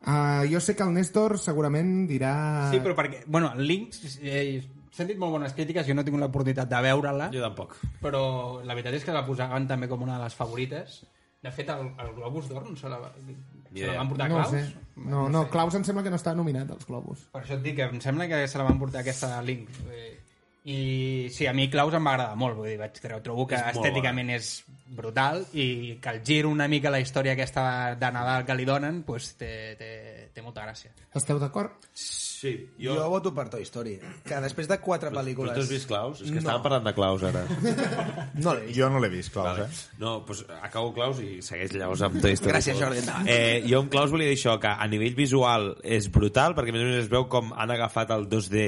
Uh, jo sé que el Néstor segurament dirà... Ah. Sí, però perquè... Bueno, Lynx eh, sentit molt bones crítiques, jo no tinc l'oportunitat de veure-la, Jo tampoc. però la veritat és que la posaven també com una de les favorites. De fet, el, el Globus d'Or no se la, se la idea. van portar No ho Claus? sé. No, no, Claus em sembla que no està nominat als Globus. Per això et dic que em sembla que se la van portar aquesta Link. Eh, I sí, a mi Claus em va agradar molt, vull dir, vaig creu, trobo que És molt estèticament és brutal i que el gir una mica la història aquesta de Nadal que li donen, doncs té, té, té molta gràcia. Esteu d'acord? Sí, Jo... jo voto per Toy Story, que després de quatre Però pel·lícules... tu has vist Claus? És que No. no. estàvem parlant de Claus, ara. No l'he vist. Jo no l'he vist, Claus, Vale. eh? No, doncs acabo Claus i segueix llavors amb Toy Story. Gràcies, Jordi, endavant. Eh, jo amb Claus volia dir això, que a nivell visual és brutal, perquè a més a més es veu com han agafat el 2D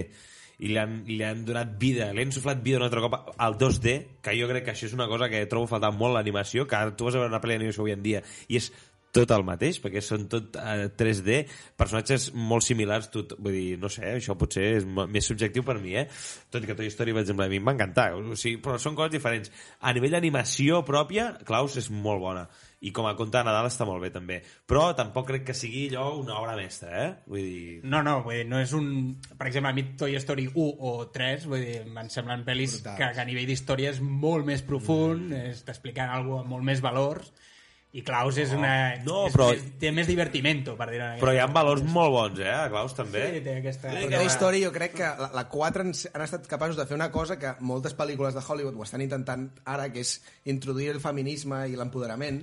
i li han, li han donat vida, li han insuflat vida un altre cop al 2D, que jo crec que això és una cosa que trobo faltant molt a l'animació, que ara tu vas a veure una pel·li d'animació avui en dia i és tot el mateix, perquè són tot eh, 3D, personatges molt similars, tot, vull dir, no sé, eh, això potser és m- més subjectiu per mi, eh? Tot i que Toy Story, per exemple, a mi em va encantar, o sigui, però són coses diferents. A nivell d'animació pròpia, Klaus és molt bona, i com a conte de Nadal està molt bé, també. Però tampoc crec que sigui allò una obra mestra, eh? Vull dir... No, no, vull dir, no és un... Per exemple, a mi Toy Story 1 o 3, vull dir, em semblen pel·lis que, Brutals. que a nivell d'història és molt més profund, mm. t'expliquen alguna amb molt més valors, i Klaus és una... no, és però- Més, té més divertimento, per dir-ho en Però hi ha aquesta- valors molt bons, eh? A Klaus, també. Sí, té aquesta... Però Toy Story jo crec que la, la 4 ens, han estat capaços de fer una cosa que moltes pel·lícules de Hollywood ho estan intentant ara, que és introduir el feminisme i l'empoderament,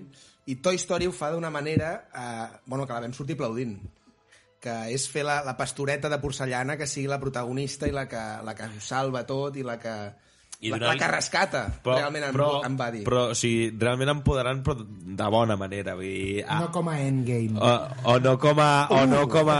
i Toy Story ho fa d'una manera eh, bueno, que la vam sortir aplaudint que és fer la, la pastoreta de porcellana que sigui la protagonista i la que, la que ho salva tot i la que, I la, la donar-li- que rescata realment em, em va dir Però, o sigui, realment empoderant, però de bona manera, vull dir... A, No com a Endgame. o, o no com a... O no com a...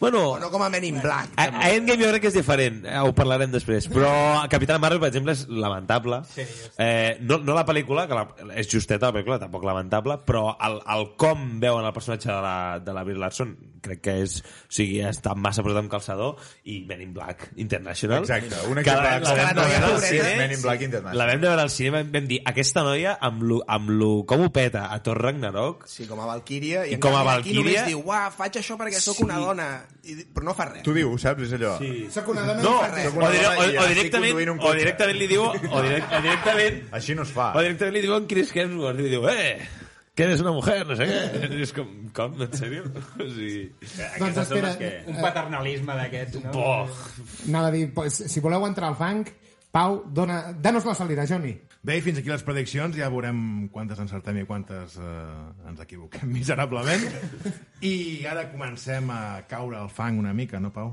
Bueno, o no com a Men in Black a, a Endgame jo crec que és diferent, eh, ho parlarem després, però Capitana Marvel, per exemple, és lamentable. Sí, jo sé. eh, no, no la pel·lícula, que la, és justeta la pel·lícula, tampoc lamentable, però el, el com veuen el personatge de la, de la Brie Larson crec que és... O sigui, està massa posat amb calçador i Men in Black International. Exacte, un Que exemple. la, la, que la la, noia la, pobreta- la, Men in Black Internet. la vam de veure al cinema i vam dir aquesta noia amb lo, amb lo, com ho peta a Thor Ragnarok Sí, com a Valkyria. I en com a canvi aquí Valkyria- només diu, uah, faig això perquè sóc Sí. una dona, i, però no fa res. Tu dius, saps? És allò. Sí. Sóc una dona no, no o, fa res. una dire, dona i o, o, estic conduint directament, un o cotxe. directament li diu o, direct, o directament Així no es fa. o directament li diu en Chris Hemsworth i li diu, eh, que eres una mujer no sé [laughs] què, i és com, com, en sèrio [laughs] o sigui, Doncs Aquestes espera, dones que... Un paternalisme d'aquests, no? boh, Anava a dir, pues, si voleu entrar al fang, Pau, dona... danos la salida, Johnny. Bé, i fins aquí les prediccions. Ja veurem quantes encertem i quantes eh, ens equivoquem [laughs] miserablement. I ara comencem a caure al fang una mica, no, Pau?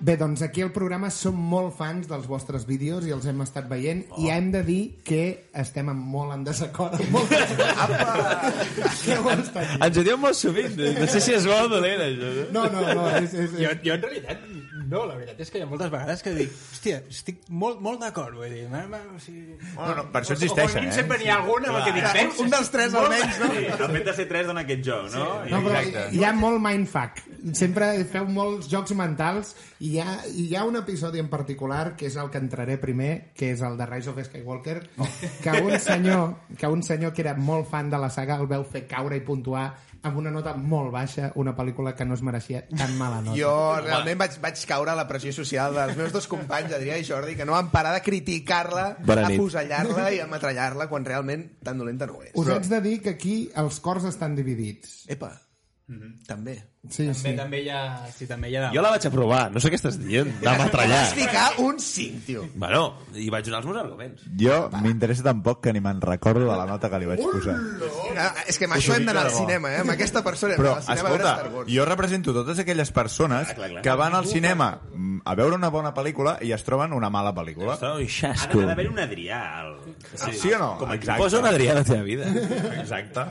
Bé, doncs aquí al programa som molt fans dels vostres vídeos i els hem estat veient oh. i hem de dir que estem en molt en desacord amb moltes coses que heu estat dient. ens ho diuen molt sovint eh? no sé si és bo o dolent això, eh?" no? No, no, no, és, és, Jo, és... jo en realitat no, la veritat és que hi ha moltes vegades que dic hòstia, estic molt, molt d'acord vull dir, ma, ma, o sigui... Bueno, no, per això o, com a existeixen, mínim eh? sempre n'hi ha algun amb el que dic Un, penses un dels tres almenys, no? Sí, el fet de ser tres dona aquest joc, no? I No, però Exacte. hi ha molt mindfuck. Sempre feu molts jocs mentals i hi ha, i hi ha un episodi en particular que és el que entraré primer, que és el de Rise of Skywalker, que un senyor que un senyor que era molt fan de la saga el veu fer caure i puntuar amb una nota molt baixa una pel·lícula que no es mereixia tan mala nota. Jo realment vaig, vaig caure a la pressió social dels meus dos companys, Adrià i Jordi, que no van parar de criticar-la, Bona nit. afusellar-la i ametrallar-la quan realment tan dolenta no és. Us haig de dir que aquí els cors estan dividits. Epa, també. Sí, també, sí. també hi ha, sí, també hi ha jo la vaig aprovar, no sé què estàs dient de matrallar Vas ficar un 5, tio. [laughs] bueno, i vaig donar els meus arguments Jo m'interessa tampoc que ni me'n recordo de la nota que li vaig posar. No, Ah, és que amb això hem d'anar al cinema, eh? Amb aquesta persona hem Però, d'anar al cinema a veure Star escolta, Wars. Ah, jo represento totes aquelles persones clar, clar. que van al cinema mm, a veure una bona pel·lícula i es troben una mala pel·lícula. Estava un Ha xasco. de- ha d'haver un Adrià. Al... Sí, sí o no? Com a Exacte. Posa un Adrià a la teva vida. Exacte.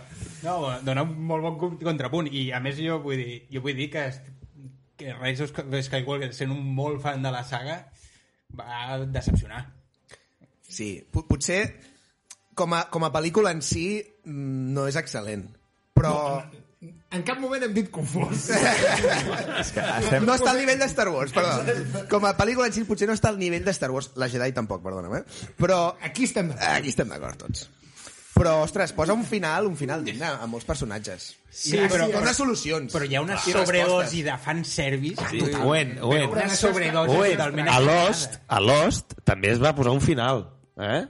No, dona un molt bon con- contrapunt i a més jo vull dir, jo vull dir que, est- que Rise of Sky- Skywalker sent un molt fan de la saga va decepcionar Sí, po- potser com a, com a pel·lícula en si mm, no és excel·lent, però... No, En cap moment hem dit confós. Estem... No està al nivell de Star Wars, perdó. Com a pel·lícula en si potser no està al nivell de Star Wars. La Jedi tampoc, perdona'm, eh? Però Aquí estem d'acord. aquí estem d'acord tots. Però, ostres, posa un final, un final digne a molts personatges. Sí, però, Dona solucions. però hi ha una I sobredosi respostes. de fanservice. Sí, Owen, Owen. Una sobredosi Owen, totalment a Lost, a Lost també es va posar un final, eh?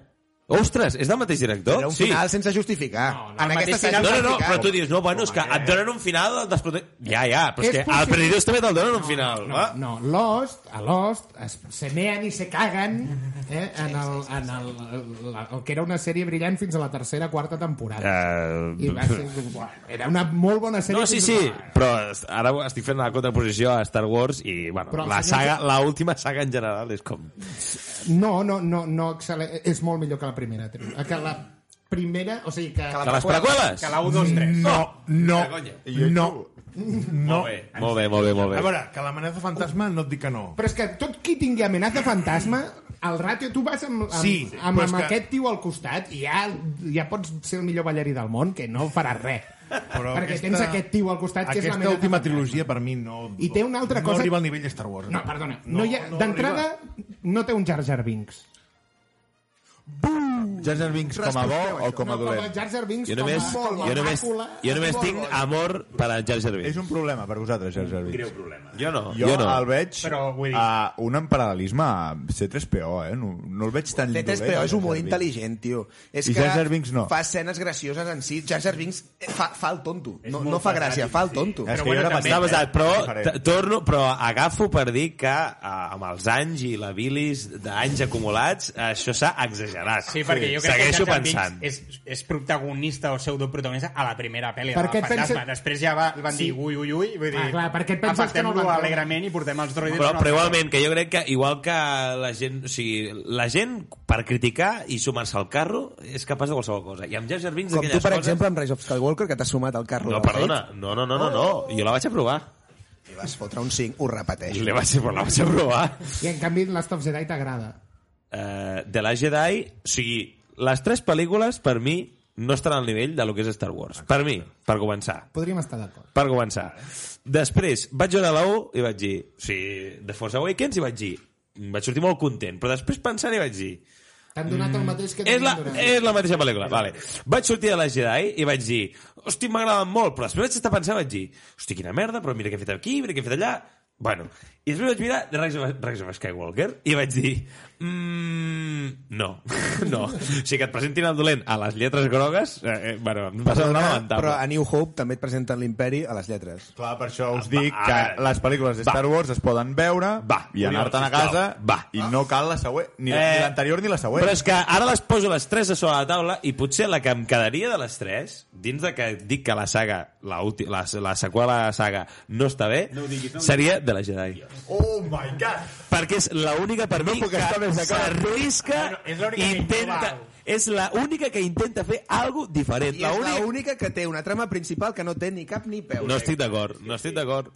Ostres, és del mateix director? Era un final Ah, sense justificar. No, no, en el aquesta mateix s'ha No, final no, no, justificat. però tu dius, no, bueno, és que et donen un final del desprotec... Ja, ja, però És és que al possible. Perdidos també te'l donen un final, No, va? Ah. no, Lost, a Lost, es, se mean i se caguen eh, en, el, en el, el, el, que era una sèrie brillant fins a la tercera, quarta temporada. I va ser, bueno, era una molt bona sèrie. Eh, No, sí, fins a sí, la- però ara estic fent una contraposició a Star Wars i, bueno, Però el la senyor- saga, la última saga en general és com... No, no, no, no excel·le... és molt millor que la primera. trio. Que la primera, o sigui, que... Que les preqüeles? Que la 1, 2, 3. No, no, no. Molt bé, molt bé, molt bé, molt A bé. veure, que l'amenaça fantasma no et dic que no. Però és que tot qui tingui amenaça fantasma, el ràtio, tu vas amb, amb, Sí, amb, però amb, és que- aquest tio al costat i ja, ja pots ser el millor ballarí del món, que no faràs res. Però perquè aquesta, tens aquest tio al costat que és Aquesta la meva... última trilogia per mi no... I té una altra no cosa- No arriba al nivell de Star Wars. eh? No, perdona. No, no hi ha... no D'entrada, no té un Jar Jar Binks. Jar Jar Binks com a bo o com a no, com a dolent? Jar Jar Binks, Jo només, com a molt jo només, jo només tinc amor per a Jar Jar És Binks. un problema per vosaltres, Jar Jar Binks. Greu problema. Jo no, Jo, jo no. el veig Però, vull dir- a un paral·lelisme a C3PO, eh? No, no el veig tan dolent. T3PO és el un molt Jar Binks. intel·ligent, tio. És I Jar Jar Binks no. fa escenes gracioses en si. Jar Jar Binks eh, fa, fa el tonto. No, no fa gràcia, fa el tonto. És que Però jo bueno, era també, bastant- basat, però Diferent. t- torno, però agafo per dir que eh, amb els anys i la bilis d'anys acumulats, això s'ha exagerat. Sí, perquè jo crec Segueixo que Jar Jar pensant. Binks és, és protagonista o pseudoprotagonista a la primera pel·li de Perquè la et Fantasma. penses- Després ja va, van dir Sí. ui, ui, ui, vull dir... Ah, clar, perquè et penses que no el apartem-lo van treure. alegrement i portem els droides... Però, al però igualment, que jo crec que igual que la gent... O sigui, la gent, per criticar i sumar-se al carro, és capaç de qualsevol cosa. I amb Jar Jar Binks Com tu, d'aquelles per coses... exemple, amb Rise of Skywalker, que t'has sumat al carro No, del perdona. No, no, no, no, no. Jo la vaig aprovar. hate. I vas fotre un 5, ho repeteixo. La vaig, però la vaig aprovar. I en canvi, Last of Jedi t'agrada. Eh, de la Jedi, o sigui, les tres pel·lícules, per mi, no estan al nivell de lo que és Star Wars. Per mi, per començar. Podríem estar d'acord. per començar. Després vaig veure la 1 i vaig dir, o sigui, The Force Awakens i vaig dir, "Mm, vaig sortir molt content, però després pensant i vaig dir, T'han donat el mateix que Mm. és la, eh, t'han donat. és la mateixa pel·lícula, vale. Vaig sortir de la Jedi i vaig dir, hosti, m'agraden molt, però després vaig estar pensant i vaig dir, hosti, quina merda, però mira què he fet aquí, mira què he fet allà, bueno. I després vaig mirar The Rise of, Rise of Skywalker i vaig dir, mmm, no, [laughs] no. O sigui, que et presentin el dolent a les lletres grogues, eh, eh, bueno, em passa una lamentable. però a New Hope també et presenten l'imperi a les lletres. Clar, per això us dic va, que a veure. les pel·lícules de Star Wars es poden veure Va, i Oriol, anar-te'n a sisplau. casa Va. i no cal la següent, ni la- ni Eh, l'anterior ni la següent. Però és que ara les poso les tres a sobre la taula i potser la que em quedaria de les tres, dins de que dic que la saga, la, ulti- la, la seqüela de la saga no està bé, no diguis, no seria de la Jedi. Oh my god! Perquè és l'única per mi puc estar que més d'acord. s'arrisca és l'única i que intenta... innova. És l'única que intenta fer alguna diferent. I és L'única- l'única que té una trama principal que Ah. no té ni cap ni peu. No estic d'acord, no estic d'acord.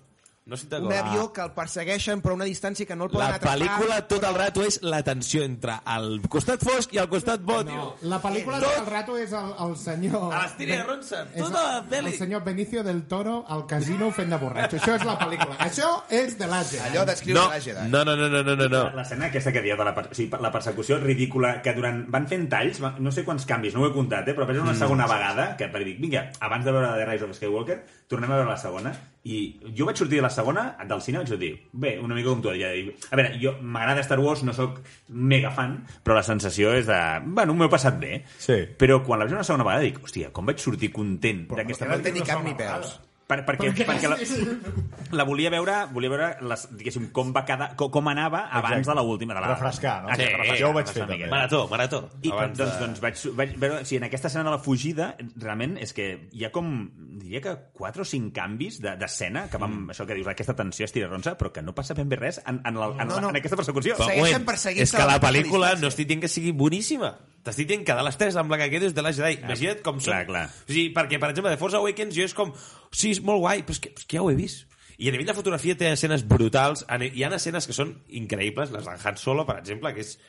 No estic Un d'acord. avió que el persegueixen però a una distància que no el poden La atrapar. pel·lícula tot el rato és la tensió entre el costat fosc i el costat bo, tio. La pel·lícula tot el rato és el, el senyor... A l'Estiria de Ronça, és tota la el- peli. El senyor Benicio del Toro al casino fent de borratxo. Això és la pel·lícula. Això és de l'Àsia. Allò d'escriure No, la Jedi. no, no, no, no, no, no, no. L'escena aquesta que dieu de la, per- o sigui, la persecució ridícula, que durant... Van fent talls, va- no sé quants canvis, no ho he comptat, eh, però penso una segona vegada, que per dic, vinga, abans de veure The Rise of Skywalker, tornem a veure la segona, i jo vaig sortir de la segona, del cine vaig dir, bé, una mica com tu, ja, dic, a veure, jo m'agrada Star Wars, no sóc mega fan, però la sensació és de, bueno, m'ho he passat bé, Sí. però quan la vaig veure una segona vegada dic, hòstia, com vaig sortir content d'aquesta No té pel·lícula?" ni cap ni peus. Per, perquè, perquè la, [laughs] la volia veure, volia veure les, diguéssim, com, va cada, com, com anava abans de l'última. de la- Refrescar, no? Exacte, Sí, refrescar, jo ho vaig refrescar fer, una miqueta. Marató, marató. I Abans doncs, de- doncs, doncs vaig, vaig veure... O sigui, en aquesta escena de la fugida, realment, és que hi ha com, diria que 4 o 5 canvis de- d'escena, que vam, això que dius, aquesta tensió estirarronsa, però que no passa ben bé res en, en, la, en, No, no, no. no. en aquesta persecució. Però, Segueixen moment, perseguint-se és que a la la pel·lícula distància. no estic dient que sigui boníssima. T'estic dient que de les tres amb la que quedes de la Jedi. Imagina't com són. clar, clar. O sigui, perquè, per exemple, de Force Awakens jo és com... Sí, és molt guai, però és que, és que ja ho he vist. I a nivell de fotografia té escenes brutals. en- Hi ha escenes que són increïbles, les d'en Han Solo, per exemple, que és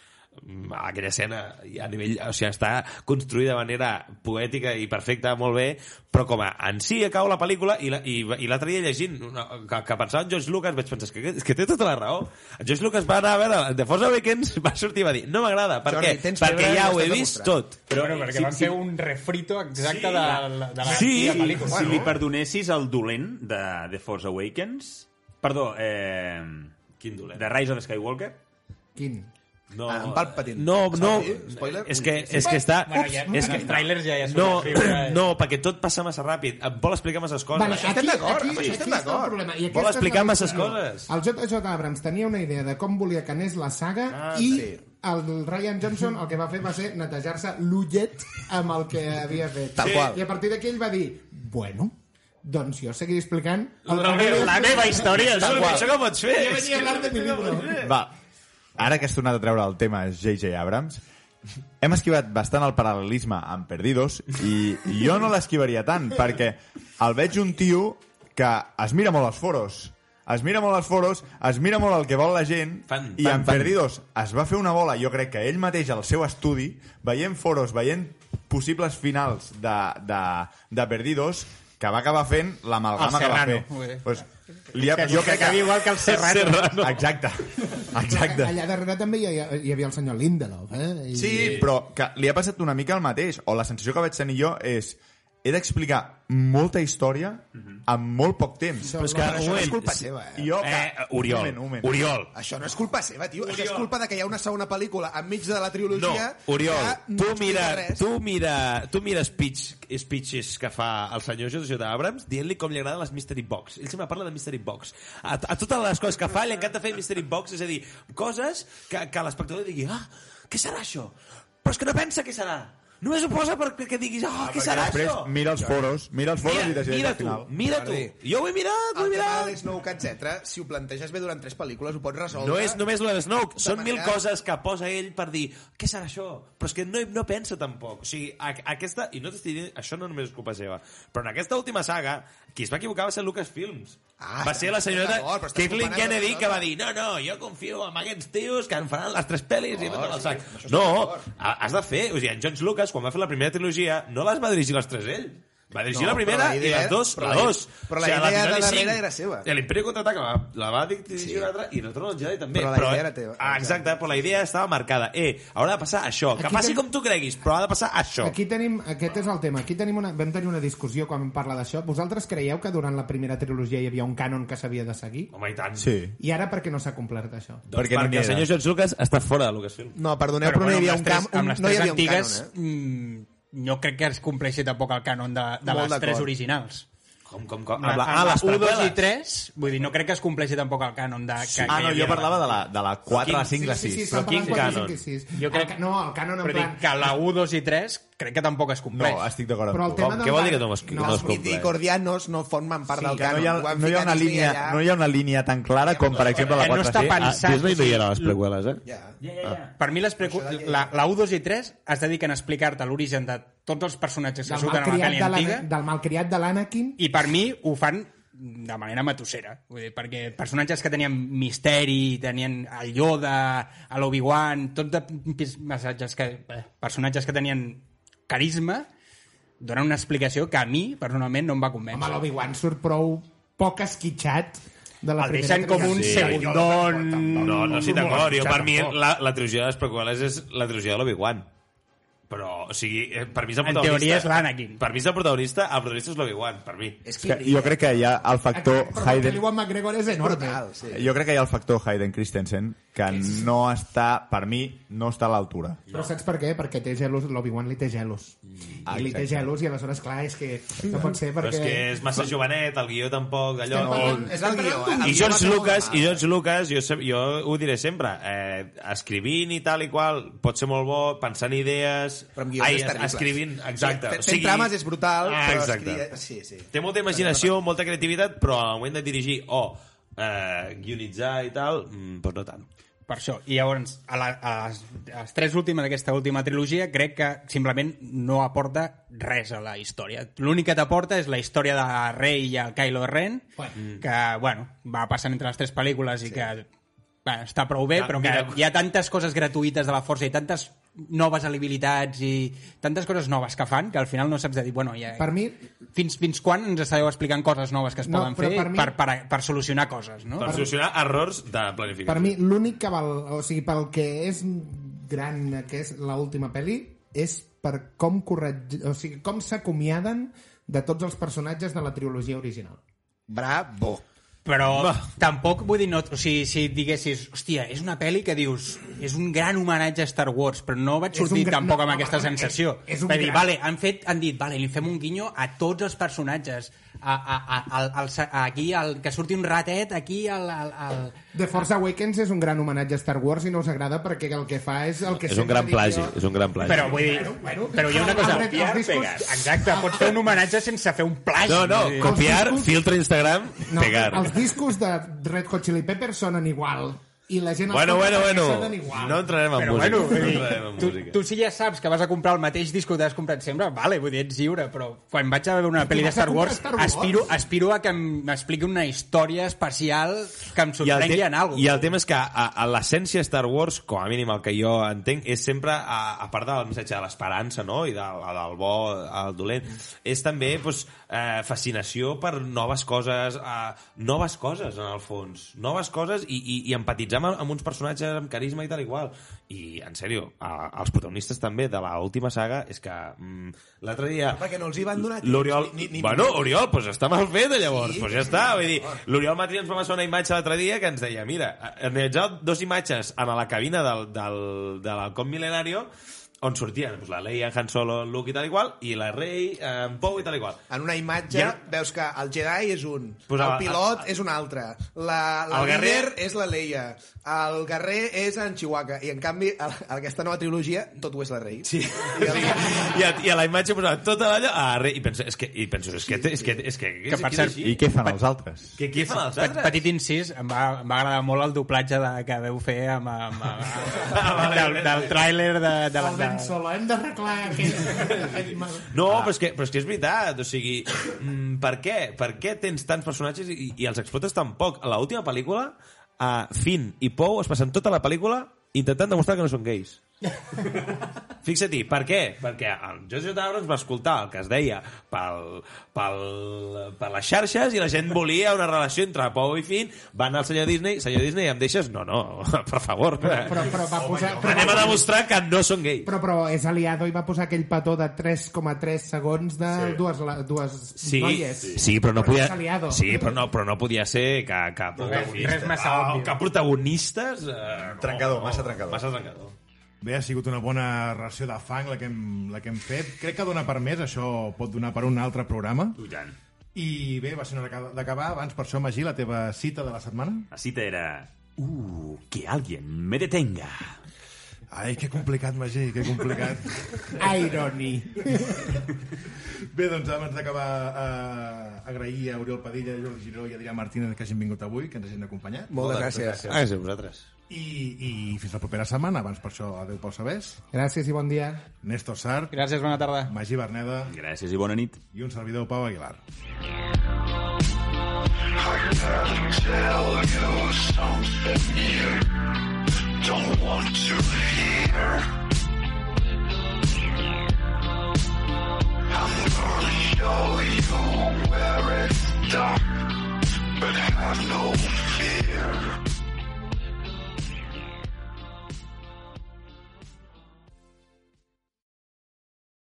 mm, aquella escena i a nivell, o sigui, està construïda de manera poètica i perfecta, molt bé, però com a en si acaba la pel·lícula i la- i va- i l'altre la, dia llegint una, que, que pensava en George Lucas vaig pensar, és que, és que té tota la raó. En George Lucas va anar a veure The Force Awakens, va sortir i va dir, no m'agrada, per Jordi, què? tens Perquè febre i ja ho ho he estàs vist demostrant. tot. Però, bueno, perquè van fer un refrito exacte de, la- de la Sí, de la pel·lícula. Si li perdonessis el dolent de The Force Awakens... Perdó, eh... Quin dolent? The Rise of Skywalker? Quin? No, Ah, en Palpatine. No, no. Spoiler? Spoiler? És que, és que està... Bueno, ja, és en que, els trailers ja, ja són no, horribles. no, perquè tot passa massa ràpid. Em vol explicar masses coses. Vale, estem d'acord, amb això estem està el d'acord. problema. I Vol aquesta és la explicar masses discussió. coses. El J.J. Abrams tenia una idea de com volia que anés la saga ah, i sí. el Ryan Johnson el que va fer va ser netejar-se l'ullet amb el que havia fet. Tal Sí. qual. I a partir d'aquí ell va dir, bueno, doncs jo seguiré explicant... El La, meva, la meva història, és el qual. pitjor que pots fer. Jo venia a hablar de mi libro. Va, ara que has tornat a treure el tema J.J. Abrams, hem esquivat bastant el paral·lelisme amb Perdidos i jo no l'esquivaria tant, perquè el veig un tio que es mira molt als foros, es mira molt als foros, es mira molt el que vol la gent Fan, i fan, en fan. Perdidos es va fer una bola, jo crec que ell mateix al seu estudi, veient foros, veient possibles finals de, de, de Perdidos, que va acabar fent l'amalgama El que va Serrano, fer. molt bé. Pues, li ha, jo crec acaba que... igual que el Serrano. Exacte, exacte. Allà darrere també hi, ha- hi havia el senyor Lindelof, eh? I... Sí, però que li ha passat una mica el mateix, o la sensació que vaig tenir jo és he d'explicar molta història amb molt poc temps. Però és que- Això no és Ell- culpa seva, eh? Jo que... Eh, Oriol, Un moment, un moment. Oriol, Això no és culpa seva, tio. Això és culpa de que hi ha una segona pel·lícula enmig de la trilogia... No, Oriol, que no tu explica mira, res. tu mira, tu mira speech, speeches que fa el senyor José J. Abrams dient-li com li agraden les Mystery Box. Ell sempre parla de Mystery Box. A, a totes les coses que fa li encanta fer Mystery Box, és a dir, coses que, que l'espectador digui, ah, què serà això? Però és que no pensa què serà. Només ho posa per- perquè diguis, ah, què serà Després això? mira els foros, mira els foros i Mira, decideix mira al tu, final. mira tu. Jordi. Jo ho he El mirat, ho he tema de mirat. l'Snoke, etc., si ho planteges bé durant tres pel·lícules, ho pots resoldre... No és només la de Snoke, De són mil manera- coses que posa ell per dir què serà això? Però és que no, no pensa tampoc. O sigui, a, aquesta, i no t'estic dient, això no només és culpa seva, però en aquesta última saga, qui es va equivocar va ser Lucasfilms. Ah, va ser la senyora d'acord, però estàs Kathleen comparant Kennedy amb que això. va dir no, no, jo confio en aquests tios que en faran les tres pel·lis i tot el sac. Oh, sí, No, ha- has de fer... O sigui, en George Lucas, quan va fer la primera trilogia, no les va dirigir les tres ell. Va dirigir No, la primera però la idea- i les dos, però la la- dos. però la la idea de final i darrere cinc. era seva. L'Imperi Contraataca la, la va dirigir sí. l'altre i Retorn al Jedi també. Però la idea era teva. Ah, exacte, però la idea estava marcada. Eh, haurà de passar això. Que Aquí passi ten- com tu creguis, però ha de passar això. Aquí tenim, aquest és el tema. Aquí tenim una, vam tenir una discussió quan vam parlar d'això. Vosaltres creieu que durant la primera trilogia hi havia un cànon que s'havia de seguir? Home, i tant. Sí. I ara per què no s'ha complert això? Doncs Perquè perquè, no n'hi el era. senyor George Lucas està fora de Lucasfilm. No, perdoneu, però, no hi havia un camp... Amb Un, les no hi tres havia un antigues, cànon, eh? mm, no crec que es compleixi tampoc el cànon de, de Molt les tres d'acord. originals. Com, com, com? Amb Amb la, la, ah, les 1, 2 i prequeles. 3, vull dir, no crec que es compleixi tampoc el cànon de... Que, Ah, que hi no, havia jo parlava de la, de la 4, la 5, la 6. estan quin parlant quatre, cànon? cinc i sis. Jo crec- El ca- no, el cànon en Però plan... dic que la 1, 2 i 3 crec que tampoc es No, compleix. estic d'acord Però el amb tu. tema Com? del Què vol bar- dir que no es- que No, no es els Smith i compleix? Cordianos eh? no formen part del Que no cànon. hi ha, Ho van no hi ha ficar una aquí i línia, allà. no hi ha una línia tan clara com, per exemple, la Que no 4 està pensat, Ah, Disney no hi era a les o sigui, prequeles, eh? Ja. Ja, ja, ja. Per mi, les precu... la, la 1, 2 i 3 es dediquen a explicar-te l'origen de tots els personatges que del surten a la malcriat pel·li de antiga, l'Ana- del malcriat de l'Anakin i per mi ho fan de manera matussera. Vull dir, perquè personatges que tenien misteri, tenien el Yoda, l'Obi-Wan, tot de pis- missatges que, eh, personatges que tenien carisma, donen una explicació que a mi, personalment, no em va Home, convèncer. l'Obi-Wan surt prou poc esquitxat de la El primera deixen com un trilogia. Sí. segundon... No, no estic d'acord. Jo, per mi, Tampoc. la, la trilogia de les prequeles és la trilogia de l'Obi-Wan. Però, o sigui, eh, per mi és el En protagonista... teoria és l'Anakin. Per mi és el protagonista, el protagonista és l'Obi-Wan, per mi. És És que jo crec que hi ha el factor Però el Hayden... Ewan McGregor és enorme. Brutal, sí. Jo crec que hi ha el factor Hayden Christensen que no està, per mi, no està a l'altura. Però saps per què? Perquè té gelos, l'Obi-Wan li té gelos. I li té Exacte. gelos i aleshores, clar, és que no pot ser Ah, Però perquè... és que és massa jovenet, el guió tampoc, allò... parlant- És el guió, eh? El I guió George va fer molt Lucas, i mal. George Lucas jo, sé- jo ho diré sempre, eh, escrivint i tal i qual, pot ser molt bo, pensant idees... Però amb guions és terrible. escrivint, exacte. Fent- Fent trames és brutal, Ah, però exacte. escri- Sí, sí. Té molta imaginació, molta creativitat, però al moment de dirigir o eh, guionitzar i tal, mm, doncs no tant. Per això. I llavors, a, la, a, les, a les tres últimes d'aquesta última trilogia, crec que simplement no aporta res a la història. L'únic que t'aporta és la història de Rey i el Kylo Ren, Bueno. Mm. que, bueno, va passant entre les tres pel·lícules i que va, està prou bé, Ja, però que mira. hi ha tantes coses gratuïtes de la força i tantes noves habilitats i tantes coses noves que fan que al final no saps de dir, bueno, ja, Per mi, fins, fins quan ens estàveu explicant coses noves que es No, poden però fer per per, mi- per, per, per solucionar coses, no? Per solucionar errors de planificació. per mi l'únic que val... O sigui, pel que és gran, que és l'última pel·li, és per com corregi... o sigui, com s'acomiaden de tots els personatges de la trilogia original. Bravo. Però tampoc, vull dir, no, o sigui, si diguessis, hòstia, és una pel·li que dius, és un gran homenatge a Star Wars, però no vaig És un sortir gran- tampoc no, amb no, aquesta no, no, sensació. és- és un Vaig dir, gran- vale, han, fet, han dit, vale, li fem un guinyo a tots els personatges, a, a, a, al, al, aquí, al, que surti un ratet, aquí, al... al, al... The Force Awakens és un gran homenatge a Star Wars i no us agrada perquè el que fa és el que... És un gran plagi, és un gran plagi. Però vull dir, bueno. però hi ha una [laughs] cosa... Els discos- Exacte, pots fer un homenatge sense fer un plagi. No, no, vull dir. copiar, discos- filtre Instagram, No, pegar. els discos de Red Hot Chili Peppers sonen igual i la gent els Bueno, compra bueno, perquè bueno. sonen igual. No entrarem en Però música. bueno, vull no dir, entrarem en tu, música. tu si ja saps que vas a comprar el mateix disc que has comprat sempre, vale, vull dir, ets lliure, però quan vaig a veure una pel·li de vas a Star Wars, comprar Star Wars? aspiro, aspiro a que m'expliqui una història especial que em I el, sorprengui te- en alguna I el tema és que a, a l'essència Star Wars, com a mínim el que jo entenc, és sempre, a, a part del missatge de l'esperança no? i del, del bo al dolent, és també doncs, eh, fascinació per noves coses, eh, noves coses en el fons, noves coses i, i, i empatitzar amb, amb uns personatges amb carisma i tal igual. I, en sèrio, a, els protagonistes també de l'última saga és que mm, l'altre dia... Perquè no els hi van donar temps, L'Oriol... ni- ni- Bueno, Oriol, doncs està mal fet, llavors. Doncs ja està. Vull dir, l'Oriol Matri ens va passar una imatge l'altre dia que ens deia, mira, han realitzat dos imatges en la cabina del, del, de l'Alcón Milenario on sortien doncs, la Leia, en Han Solo, en Luke i tal i qual, i la Rey, eh, en Poe i tal i qual. En una imatge Ja. veus que el Jedi és un, Pues el a- pilot a- és un altre, la, la El guerrer- líder és la Leia, el guerrer és en Chihuahua, i en canvi a, a aquesta nova trilogia tot ho és la Rey. [laughs] Sí. I el, I a, i a la imatge posava tota l'allò a la Rey, i penso, és que, i penso, és que, és que, és que, Que, per cert, I què fan els altres? que, què fan els Pe- altres? Petit incís, em va, em va agradar molt el doblatge de, que veu fer amb, amb, [laughs] amb, Ah, vale, del, vale. del tràiler de, de, El de, Ben Solo, hem d'arreglar [laughs] aquest... aquest mal. No, però, és que, però és que és veritat, o sigui, mm, per què? Per què tens tants personatges i, i els explotes tan poc? A l'última pel·lícula, a Finn i Poe es passen tota la pel·lícula intentant demostrar que no són [laughs] gais. Fixa-t'hi, per què? Perquè el Joseph Abrams va escoltar el que es deia pel, pel, per les xarxes i la gent volia una relació entre Poe i Finn. Va anar al senyor Disney, senyor Disney, em deixes? No, no, [laughs] per favor. eh?" Però, però va posar... Anem a Però, demostrar que no són gais. però, però és aliado i va posar aquell petó de 3,3 segons de sí. dues, la- dues Sí, noies. sí, sí, però no Però podia... és aliado. Sí, però no, però no podia ser que, que protagonista. res massa Ah, obvi. que protagonistes... Eh, no, Trencador, no, massa trencador. Massa trencador. Bé, ha sigut una bona ració de fang la que hem, la que hem fet. Crec que dona per més, això pot donar per un altre programa. Tu, Jan. I bé, va ser una hora d'acabar. Abans, per això, Magí, la teva cita de la setmana. La cita era... Uh, que alguien me detenga. Ai, que complicat, Magí, que complicat. Irony. [laughs] bé, doncs abans d'acabar, eh, agrair a Oriol Padilla, Jordi Giró i Adrià Martínez que hagin vingut avui, que ens hagin acompanyat. Moltes gràcies. Ah, sí, vosaltres. I, I fins la propera setmana. Abans, per això, adeu pels sabers. Gràcies i bon dia. Néstor Sart, Gràcies, bona tarda. Magí Berneda Gràcies i bona nit. i un servidor, Pau Aguilar. But have no fear.